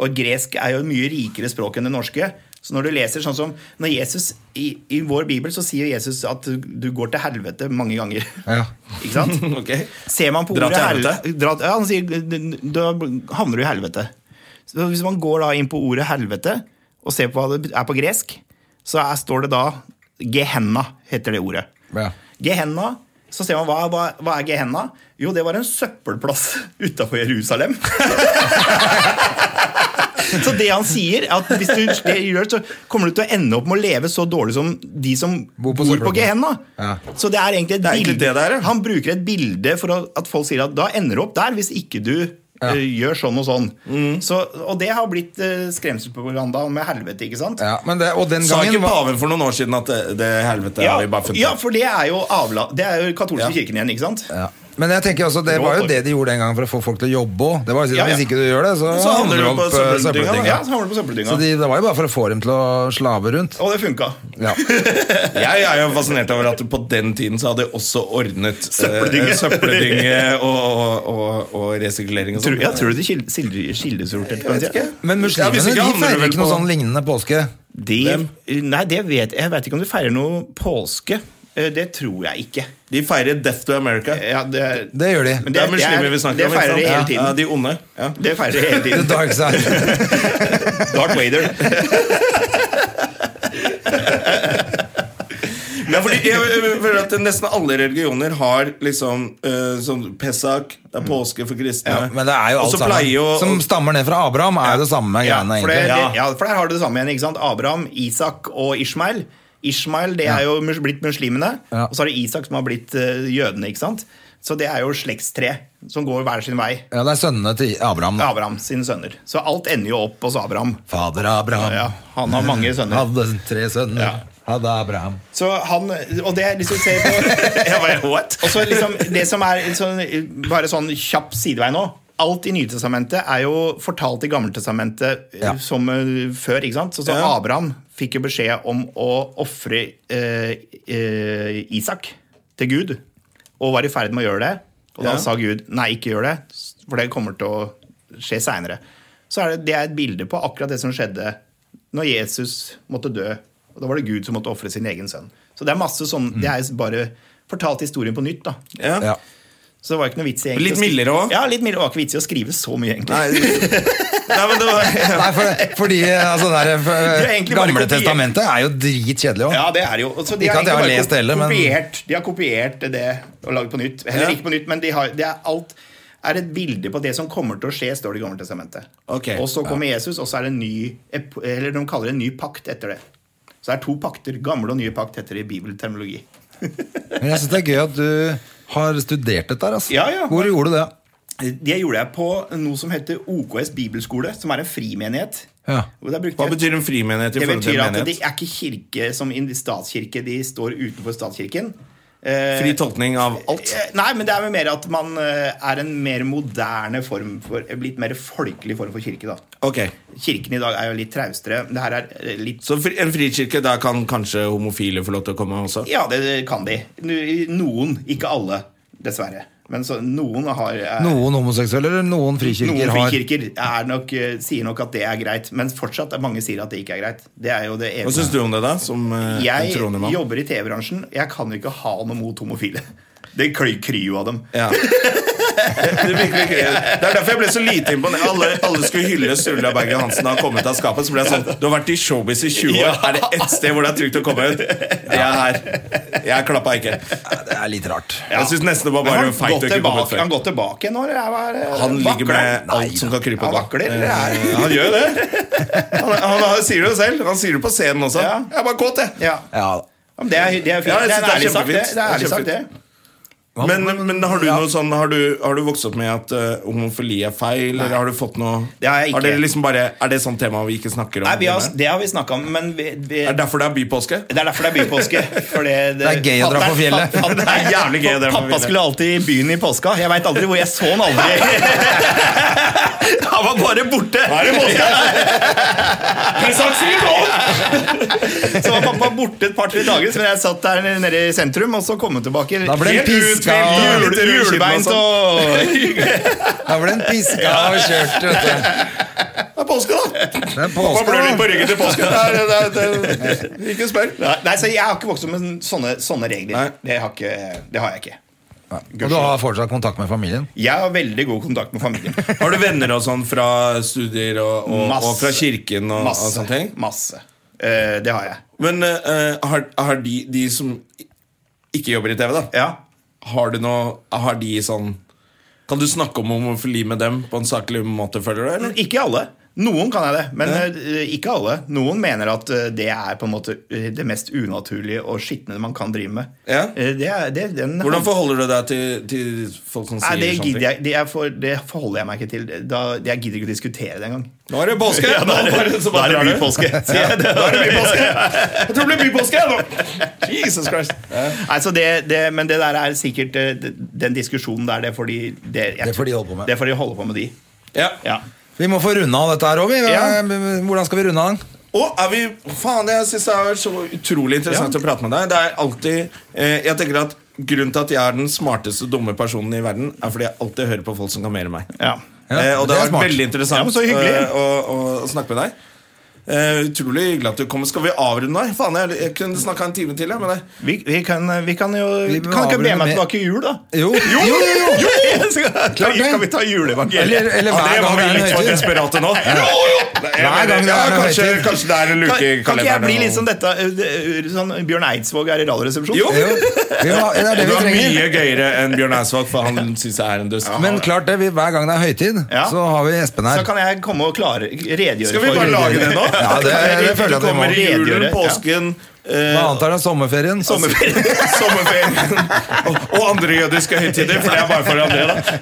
Og gresk er jo et mye rikere språk enn det norske. Så når du leser sånn som når Jesus, i, I vår bibel så sier Jesus at du går til helvete mange ganger.
Ja.
*laughs* Ikke sant?
*laughs* Ok.
Ser man på
Dra
ordet
til
helvete dra, ja, Han sier da havner du i helvete. Så hvis man går da inn på ordet helvete og ser på hva det er på gresk, så er, står det da Gehenna, heter det ordet.
Ja.
Gehenna, så ser man hva, hva, hva er Gehenna? Jo, det var en søppelplass utafor Jerusalem. *laughs* så det han sier, at hvis du det gjør, så kommer du til å ende opp med å leve så dårlig som de som bor
Bor på
på,
søppelplass.
Gehenna.
Ja.
Så det er egentlig et
Det er egentlig
bilde-
det det er, ja.
Han bruker et bilde for å- at folk sier at da ender du opp der hvis ikke du
Ja.
eh, gjør sånn og sånn. Så, og det har blitt eh, skremselspropaganda med helvete, ikke sant?
Ja, men det, og den
Sa ikke
gangen var-
paven for noen år siden at det, det helvete
Ja,
har vi bare funnet
ja, for det er jo avla, Det er jo katolske
Ja.
kirken igjen, ikke sant?
ja. Men jeg tenker også, det
Rå
var jo
folk.
det de gjorde den gangen for å få folk til å jobbe
Ja,
òg.
ja.
Hvis ikke du gjør det, så,
Så handler det jo
opp,
på
eh,
søppeldynga, da.
søppeldynga.
Ja, så havner du på søppeldynga.
Så de, det var jo bare for å få dem til å slave rundt.
Og det funka.
Ja.
Jeg er jo fascinert over at på den tiden så hadde jeg også ordnet eh,
Søppeldynge.
*laughs* søppeldynge og, og, og, og resiklering og
Tror,
sånt.
ja, tror du det skil- skil- skildesorterte på den tida?
Ja,
Men muslimene
hvis ikke
de
handler det
feirer
vel
ikke noe
på-
sånn lignende påske.
De, nei, det vet jeg. Jeg vet ikke om du feirer noe påske. Eh, Det tror jeg ikke.
De feirer Death to America.
Ja, det,
Det gjør de.
Men
Det er muslimer vi
det
snakker om. ikke
feirer de hele
sant?
tiden.
Ja, de onde. Ja.
Det feirer de hele
The
tiden.
dark
*laughs*
side.
Darth *laughs* Vader.
Ja, fordi jeg, jeg føler at Nesten alle religioner har liksom eh, sånn Pesach, det er påske for kristne.
Ja, men det er jo
Og
alt
så pleier
sammen.
jo-
Som stammer ned fra Abraham, er jo det samme
Ja,
greiene,
for, det,
egentlig.
det- ja, for der har du det samme igjen. ikke sant? Abraham, Isak og Ishmael. Ishmael det er jo mus- blitt muslimene,
Ja.
og så er det Isak som har blitt eh, jødene. ikke sant? Så det er jo slektstre som går hver sin vei.
Ja, det er sønnene til Abraham. Da.
Abraham sine sønner. Så alt ender jo opp hos Abraham.
Fader Abraham
Ja, han har mange sønner.
hadde tre sønner.
Ja.
Hadde Abraham.
Så han, og det er liksom ser på
Jeg bare, what?
Og så liksom, det som er sånn- bare sånn kjapp sidevei nå Alt i Nytestamentet er jo fortalt i Gammeltestamentet eh,
Ja.
som eh, før. ikke sant? Så, så
Ja.
Abraham fikk jo beskjed om å ofre eh, eh, Isak til Gud, og var i ferd med å gjøre det. Og da
Ja.
sa Gud nei, ikke gjør det, for det kommer til å skje seinere. Så er det, det er et bilde på akkurat det som skjedde når Jesus måtte dø. Og da var det Gud som måtte ofre sin egen sønn. Så det er masse sånn, det er bare fortalt historien på nytt. da.
Ja.
Ja.
Så det var ikke noe vits i egentlig
Litt
å skri-
mildere også?
Ja, litt mildere. Det var ikke vits i å skrive så mye, egentlig.
Nei, nei, men det var *laughs*
Nei, for, fordi altså, det er,
er egentlig bare
Gamle
kopier.
testamentet er jo dritkjedelig òg.
Ja, det er det jo. Og så de
Ikke at jeg
egentlig
har
bare
lest det heller, men-
kopiert, De har kopiert det og lagd på nytt. Heller
Ja.
ikke på nytt, men de har, det er alt er et bilde på det som kommer til å skje, står det i Gammeltestamentet.
Ok,
Og så kommer Jesus, og så er det en ny ep- Eller de kaller det en ny pakt etter det. Så det er to pakter. Gamle og nye pakt heter det i bibelterminologi.
Men jeg syns det er gøy at du har studert dette her. Altså.
Ja, ja.
Hvor gjorde du det?
Det gjorde jeg på noe som heter OKS bibelskole, som er en frimenighet.
Ja.
Og der brukte
Hva
jeg-
betyr en frimenighet i
Det
forhold til
betyr
en
at de
menighet?
er ikke kirke som i statskirke, de står utenfor statskirken. Eh,
Fri tolkning av alt.
eh, Nei, men det er vel mer at man eh, er en mer moderne form for en Litt mer folkelig form for kirke, da.
Ok,
Kirken i dag er jo litt traustere. Det her er eh, litt
Så fri- en frikirke, der kan kanskje homofile få lov til å komme også?
Ja, det kan de. Nu- Noen, ikke alle, dessverre. Men så, noen har eh,
Noen homseksuelle eller noen frikirker
Noen
har
frikirker er nok, eh, sier nok at det er greit, men fortsatt er mange sier at det ikke er greit. Det er jo det
Hva
evige.
syns du om det, da? Som eh, en
Jeg
troende mann?
jobber i TV-bransjen. Jeg kan jo ikke ha noe mot homofile. *laughs* Det kly- kryr jo av dem.
Ja. Det, er virkelig ikke *laughs* det. det er derfor jeg ble så lite imponert. Alle, alle skulle hylle Sturla Bergen Hansen da han kom ut av skapet. Så ble jeg sånn Du har vært i showbiz i 20 år. Er det ett sted hvor det er trygt å komme ut? Det er her. Jeg klappa ikke.
Det er litt rart.
Jeg syns nesten det var
Men har
bare
han
feit
gått
å ikke komme ut
tilbake, han
før.
går tilbake nå? eller er det-
Han
*laughs*
ligger
vakler
med alt som kan krype
Han
opp. da.
vakler, eller er
Eh, Han gjør jo det. Han, han, han sier det jo selv. Han sier det på scenen også.
Ja.
Jeg er bare kåt, jeg.
Ja. Ja,
Ja,
men Det er, det er fint.
Ja, jeg
det er
synes det er
ærlig sagt, det.
kjempefint.
det, er ærlig
Det er
sagt, det.
Men, men har du noe sånn Har du, har du vokst opp med at eh, homofili er feil, eller har du fått noe
Det har jeg ikke.
dere liksom bare, Er det sånn tema vi ikke snakker om?
Nei, vi har,
hjemme?
det har vi snakka om, men vi, vi,
er det derfor det er bypåske?
Det er derfor det er bypåske. For det,
Det er gøy å dra på
*laughs*
fjellet.
Pappa,
Det er jævlig gøy å dra på
pappa
fjellet.
skulle alltid i byen i påska. Jeg veit aldri hvor jeg så han
*laughs*
aldri. Han var bare borte!
er det påske?
Så var pappa borte et par-tre dager, så jeg satt der nede i sentrum, og så kom han tilbake.
Da ble han
Helt
piska.
uthvilt, jule-
Litt rød kinn og sånn.
Julebeint og
Da ble den piska og kjørt. Vet du.
Det er påske, da!
Det er
Hva blør litt på
påske.
ryggen til påske? Det er- det er- det er- Ikke spør.
Nei, så jeg har ikke vokst opp med sånne, sånne
Nei.
regler. Det har, ikke, det har jeg ikke.
da. Og du har fortsatt kontakt med familien?
Jeg har veldig god kontakt med familien.
Har du venner *laughs* og sånn fra studier og, og, og
Masse.
fra kirken og, og
Masse.
sånne ting?
Masse. Eh, det har jeg.
Men eh, har, har de, de som ikke jobber i TV, da
Ja.
Har du noe Har de sånn Kan du snakke om homofili med dem på en saklig måte, føler du? Eller?
Ikke alle. Noen kan jeg det, men eh, ikke alle. Noen mener at eh, det er på en måte eh, det mest unaturlige og skitne man kan drive med.
Ja.
Eh, Det er, det, den,
Hvordan forholder du deg til, til folk som
Nei,
sier
det,
sånne
gidder
ting?
jeg, det, er for, det forholder jeg meg ikke til. Da, jeg gidder ikke å diskutere det engang.
Nå er det påske!
*laughs* Ja, da er det-
Nå så
da
bare
er det
drar du.
bypåske.
Ja, da er det bypåske. Jeg tror det blir bypåske jeg, nå! Jesus Christ.
Nei, så det, det, men det der er sikkert eh, det- Den diskusjonen der, det er fordi Det, jeg
Det får de
tror-
holde på med.
Det får de holde på med, de.
Ja.
Ja.
Vi må få runda av dette her òg.
Ja.
Hvordan skal vi runde av den?
Og er vi Faen, jeg syns det har vært så utrolig interessant å prate med deg. Det er alltid eh, Jeg tenker at Grunnen til at jeg er den smarteste dumme personen i verden, er fordi jeg alltid hører på folk som kan mer enn meg.
Ja.
eh, og det
det er
har
smart.
vært veldig interessant
Ja, men så hyggelig.
eh, å, å, å snakke med deg. Eh, utrolig hyggelig at du kom. Skal vi avrunde? deg? Faen, jeg, jeg kunne snakka en time til. Jeg, med deg.
Vi, vi, kan, eh, vi kan jo
Vi må
Kan ikke be
avrunde
meg
med-
tilbake i jul, da?
Jo, jo, jo! jo.
*laughs*
Klart
det.
Kan vi ta juleevangeliet?
Eller- eller hver
det
gang
var
det
vi
er en
litt for
høytid.
desperate nå.
Hver gang det
Ja,
er en
kanskje,
høytid.
kanskje det er en
Kan,
luke i
kan ikke jeg
kalenderen
bli
og-
litt sånn dette uh, uh, sånn Bjørn Eidsvåg er i Radioresepsjonen?
Jo.
Jo, vi må, det er det
Det
vi
var
trenger.
mye gøyere enn Bjørn Eidsvåg, for han syns jeg er en dust.
Men klart det, vi, hver gang det er høytid,
Ja.
så har vi Espen
Så
her.
kan jeg komme og klare, redegjøre
Skal vi bare lage det nå?
Ja, det, det føler
Du
jeg at vi må.
kommer i julen,
Redegjøre, ja.
påsken *laughs*
Hva
eh,
annet er det? Sommerferien?
Sommerferien *laughs* og, og andre jødiske høytider, for det er bare for André, da.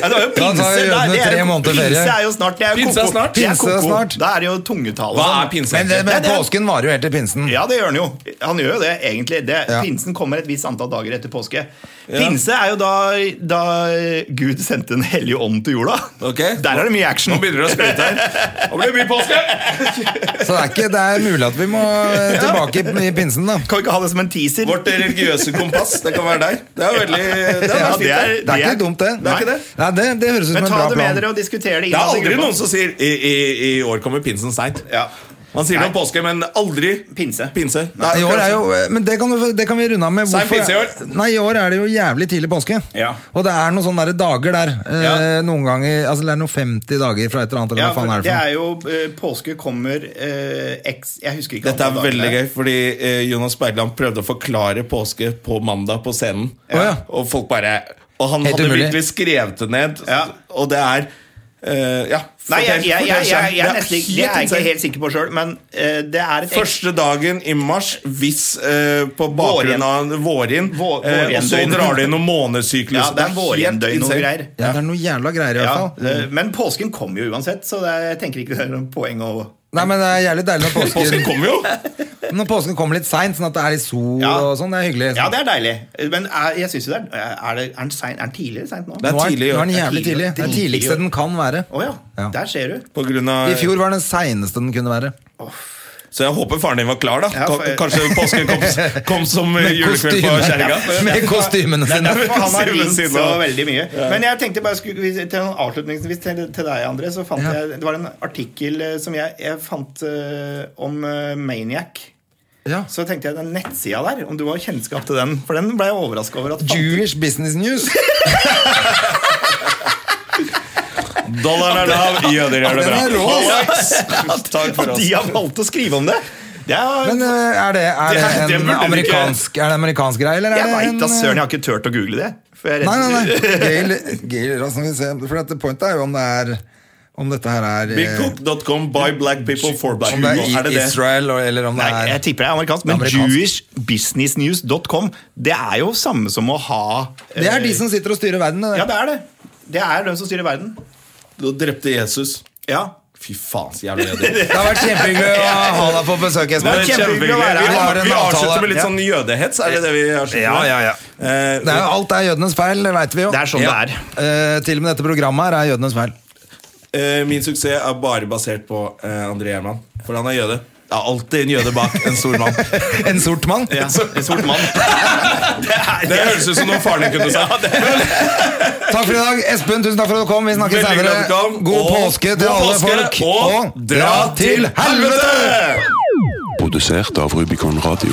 Ja, det er jo
Da
pinse.
tar vi
da, det er,
tre
jo-
måneder ferie.
Pinse er jo snart. Det er jo
Pinse er
koko.
snart.
Det er
Pinse er
koko.
snart.
Da er det jo tungetale.
Hva
sånn.
er pinse?
Altså, Men, det,
Ja,
men
det er-
påsken varer jo helt til pinsen.
Ja, det gjør han jo. Han gjør jo det, egentlig. Det,
Ja.
Pinsen kommer et visst antall dager etter påske. Pinse er jo da, da Gud sendte Den hellige ånd til jorda.
Ok.
Der er det mye action.
Nå begynner det å sprøyte her. Nå blir det mye påske!
Så det er, ikke, det er mulig at vi må eh, tilbake i- i pinsen, da.
Kan vi ikke ha det som en teaser?
Vårt eh, religiøse kompass, det kan være deg. Det er veldig det er
Ja,
fint,
det er-
det.
Det er ikke dumt, det.
Det er ikke det.
Nei, det, det høres ut som
Men
en
ta
bra
det med
plan.
dere og diskutere det.
Det er
innad i
aldri
gruppa.
noen som sier i, i, I år kommer pinsen seint.
Ja.
Man sier det om
Nei.
påske, men aldri
Pinse.
pinse.
I år er jo, eh, men det kan, du- det kan vi runde av med.
Sein pinse i år.
Nei, I år er det jo jævlig tidlig påske.
Ja.
Og det er noen sånne der dager der. Eh,
Ja.
Noen ganger, altså Det er noen 50 dager fra et eller annet. Eller
Ja,
hva faen er
det
det for?
er jo eh, Påske kommer eh, x Jeg husker ikke
Dette er
antall dager
veldig
der.
gøy, fordi eh, Jonas Bergland prøvde å forklare påske på mandag på scenen.
Å, ja.
Og folk bare Og han
Helt
hadde
umulig.
virkelig skrevet det ned.
Ja.
Og det er eh, Ja.
Nei, jeg, jeg, jeg, jeg, jeg,
Det
er
er
nesten ikke- det er jeg
helt
ikke
insane.
helt sikker på sjøl, men eh, det er et
Første dagen i mars, hvis eh, på bakgrunn av vårinn,
Vår-
eh, og så
vårjendøgn.
drar det inn noen månedssyklus.
Ja, det er vårjendøgn og
insane.
greier.
Ja, det er noe jævla greier, i hvert
Ja,
fall.
det- men påsken kommer jo uansett, så det er, jeg tenker ikke det er noe poeng å
Nei, men det er jævlig deilig med påsken.
Påsken kommer jo!
Når påsken kommer litt seint, sånn at det er litt sol
Ja.
og sånn. Det er hyggelig.
Ja, det er deilig. Men er, jeg synes jo det er Er, det, er, den, sein, er den tidlig eller seint nå?
Det er
Nå er,
tidlig i år.
nå er den jævlig
Det er tidlig
tidlig.
i år.
Det er tidligste den kan være.
Å ja.
Ja.
Der ser du.
På grunn av,
I fjor var den seineste den kunne være.
Så jeg håper faren din var klar, da.
Ja, for-
Ka- Kanskje påsken kom, kom
*laughs*
som julekveld på
Kostyme.
kjerringa.
*laughs* Med kostymene
Det er
sine.
derfor *laughs* han har
Siden
ringt
siden
så
av-
veldig mye. Men jeg tenkte bare skulle, hvis- til en avslutningsvis til, til deg, André, så fant
Ja.
jeg Det var en artikkel eh, som jeg, jeg fant eh, om eh, Maniac.
Ja.
Så tenkte jeg den nettsida der, om du har kjennskap til den. For den ble jeg overraska over at fant.
Jewish Business News.
Dollaren er lav, jøder gjør det
Den
bra.
er rå.
*laughs*
Alex, Takk for
At
oss.
de har valgt å skrive om det! Det er
Men eh, er det, er det
Det- det
en
burde du
amerikansk Er det en amerikansk greie, eller er
Jeg
det
veit
en eh,
da søren, jeg har ikke turt å google det. For jeg er
Nei,
redd-
nei, nei. Gail, Gail Rass, nå skal vi se. For at pointet er jo om det er Om dette her er eh,
Bigcoop.com, buy black people for black
Om det
people.
er
Er
i
det det?
Israel, og- eller om det
Nei, jeg
er
tipper det er amerikansk, men
Amerikansk.
jewishbusinessnews.com det er jo samme som å ha eh,
Det er de som sitter og styrer verden. det der.
Ja, det er det. Det er dem som styrer verden.
Du drepte Jesus.
Ja.
Fy faen, så jævlig
*laughs*
jøder.
Det har vært kjempehyggelig å ha deg på besøk,
Det
Espen.
er
kjempehyggelig å
kjempehyggelig.
være her.
Vi,
Vi har
har-
en
vi
avtale.
avslutter med litt sånn jødehets. Er det det vi avslutter med?
Ja, ja,
Eh,
Det er jo, alt er jødenes feil, det veit vi jo.
Det er sånn
Ja.
det er.
Eh, til og med dette programmet her er jødenes feil. *laughs*
eh, min suksess er bare basert på eh, André Gjerman, for han er jøde. Det er alltid en jøde bak en stor mann.
En sort mann.
Ja, en sort mann. Det er,
*laughs* Det høres ut som noe faren din kunne sagt.
Takk for i dag, Espen. Tusen takk for at du kom. Vi snakkes
Veldig glad du
senere.
kom.
God
Og-
påske til
god
alle
påske,
folk.
og dra til helvete!
Produsert av Rubicon Radio.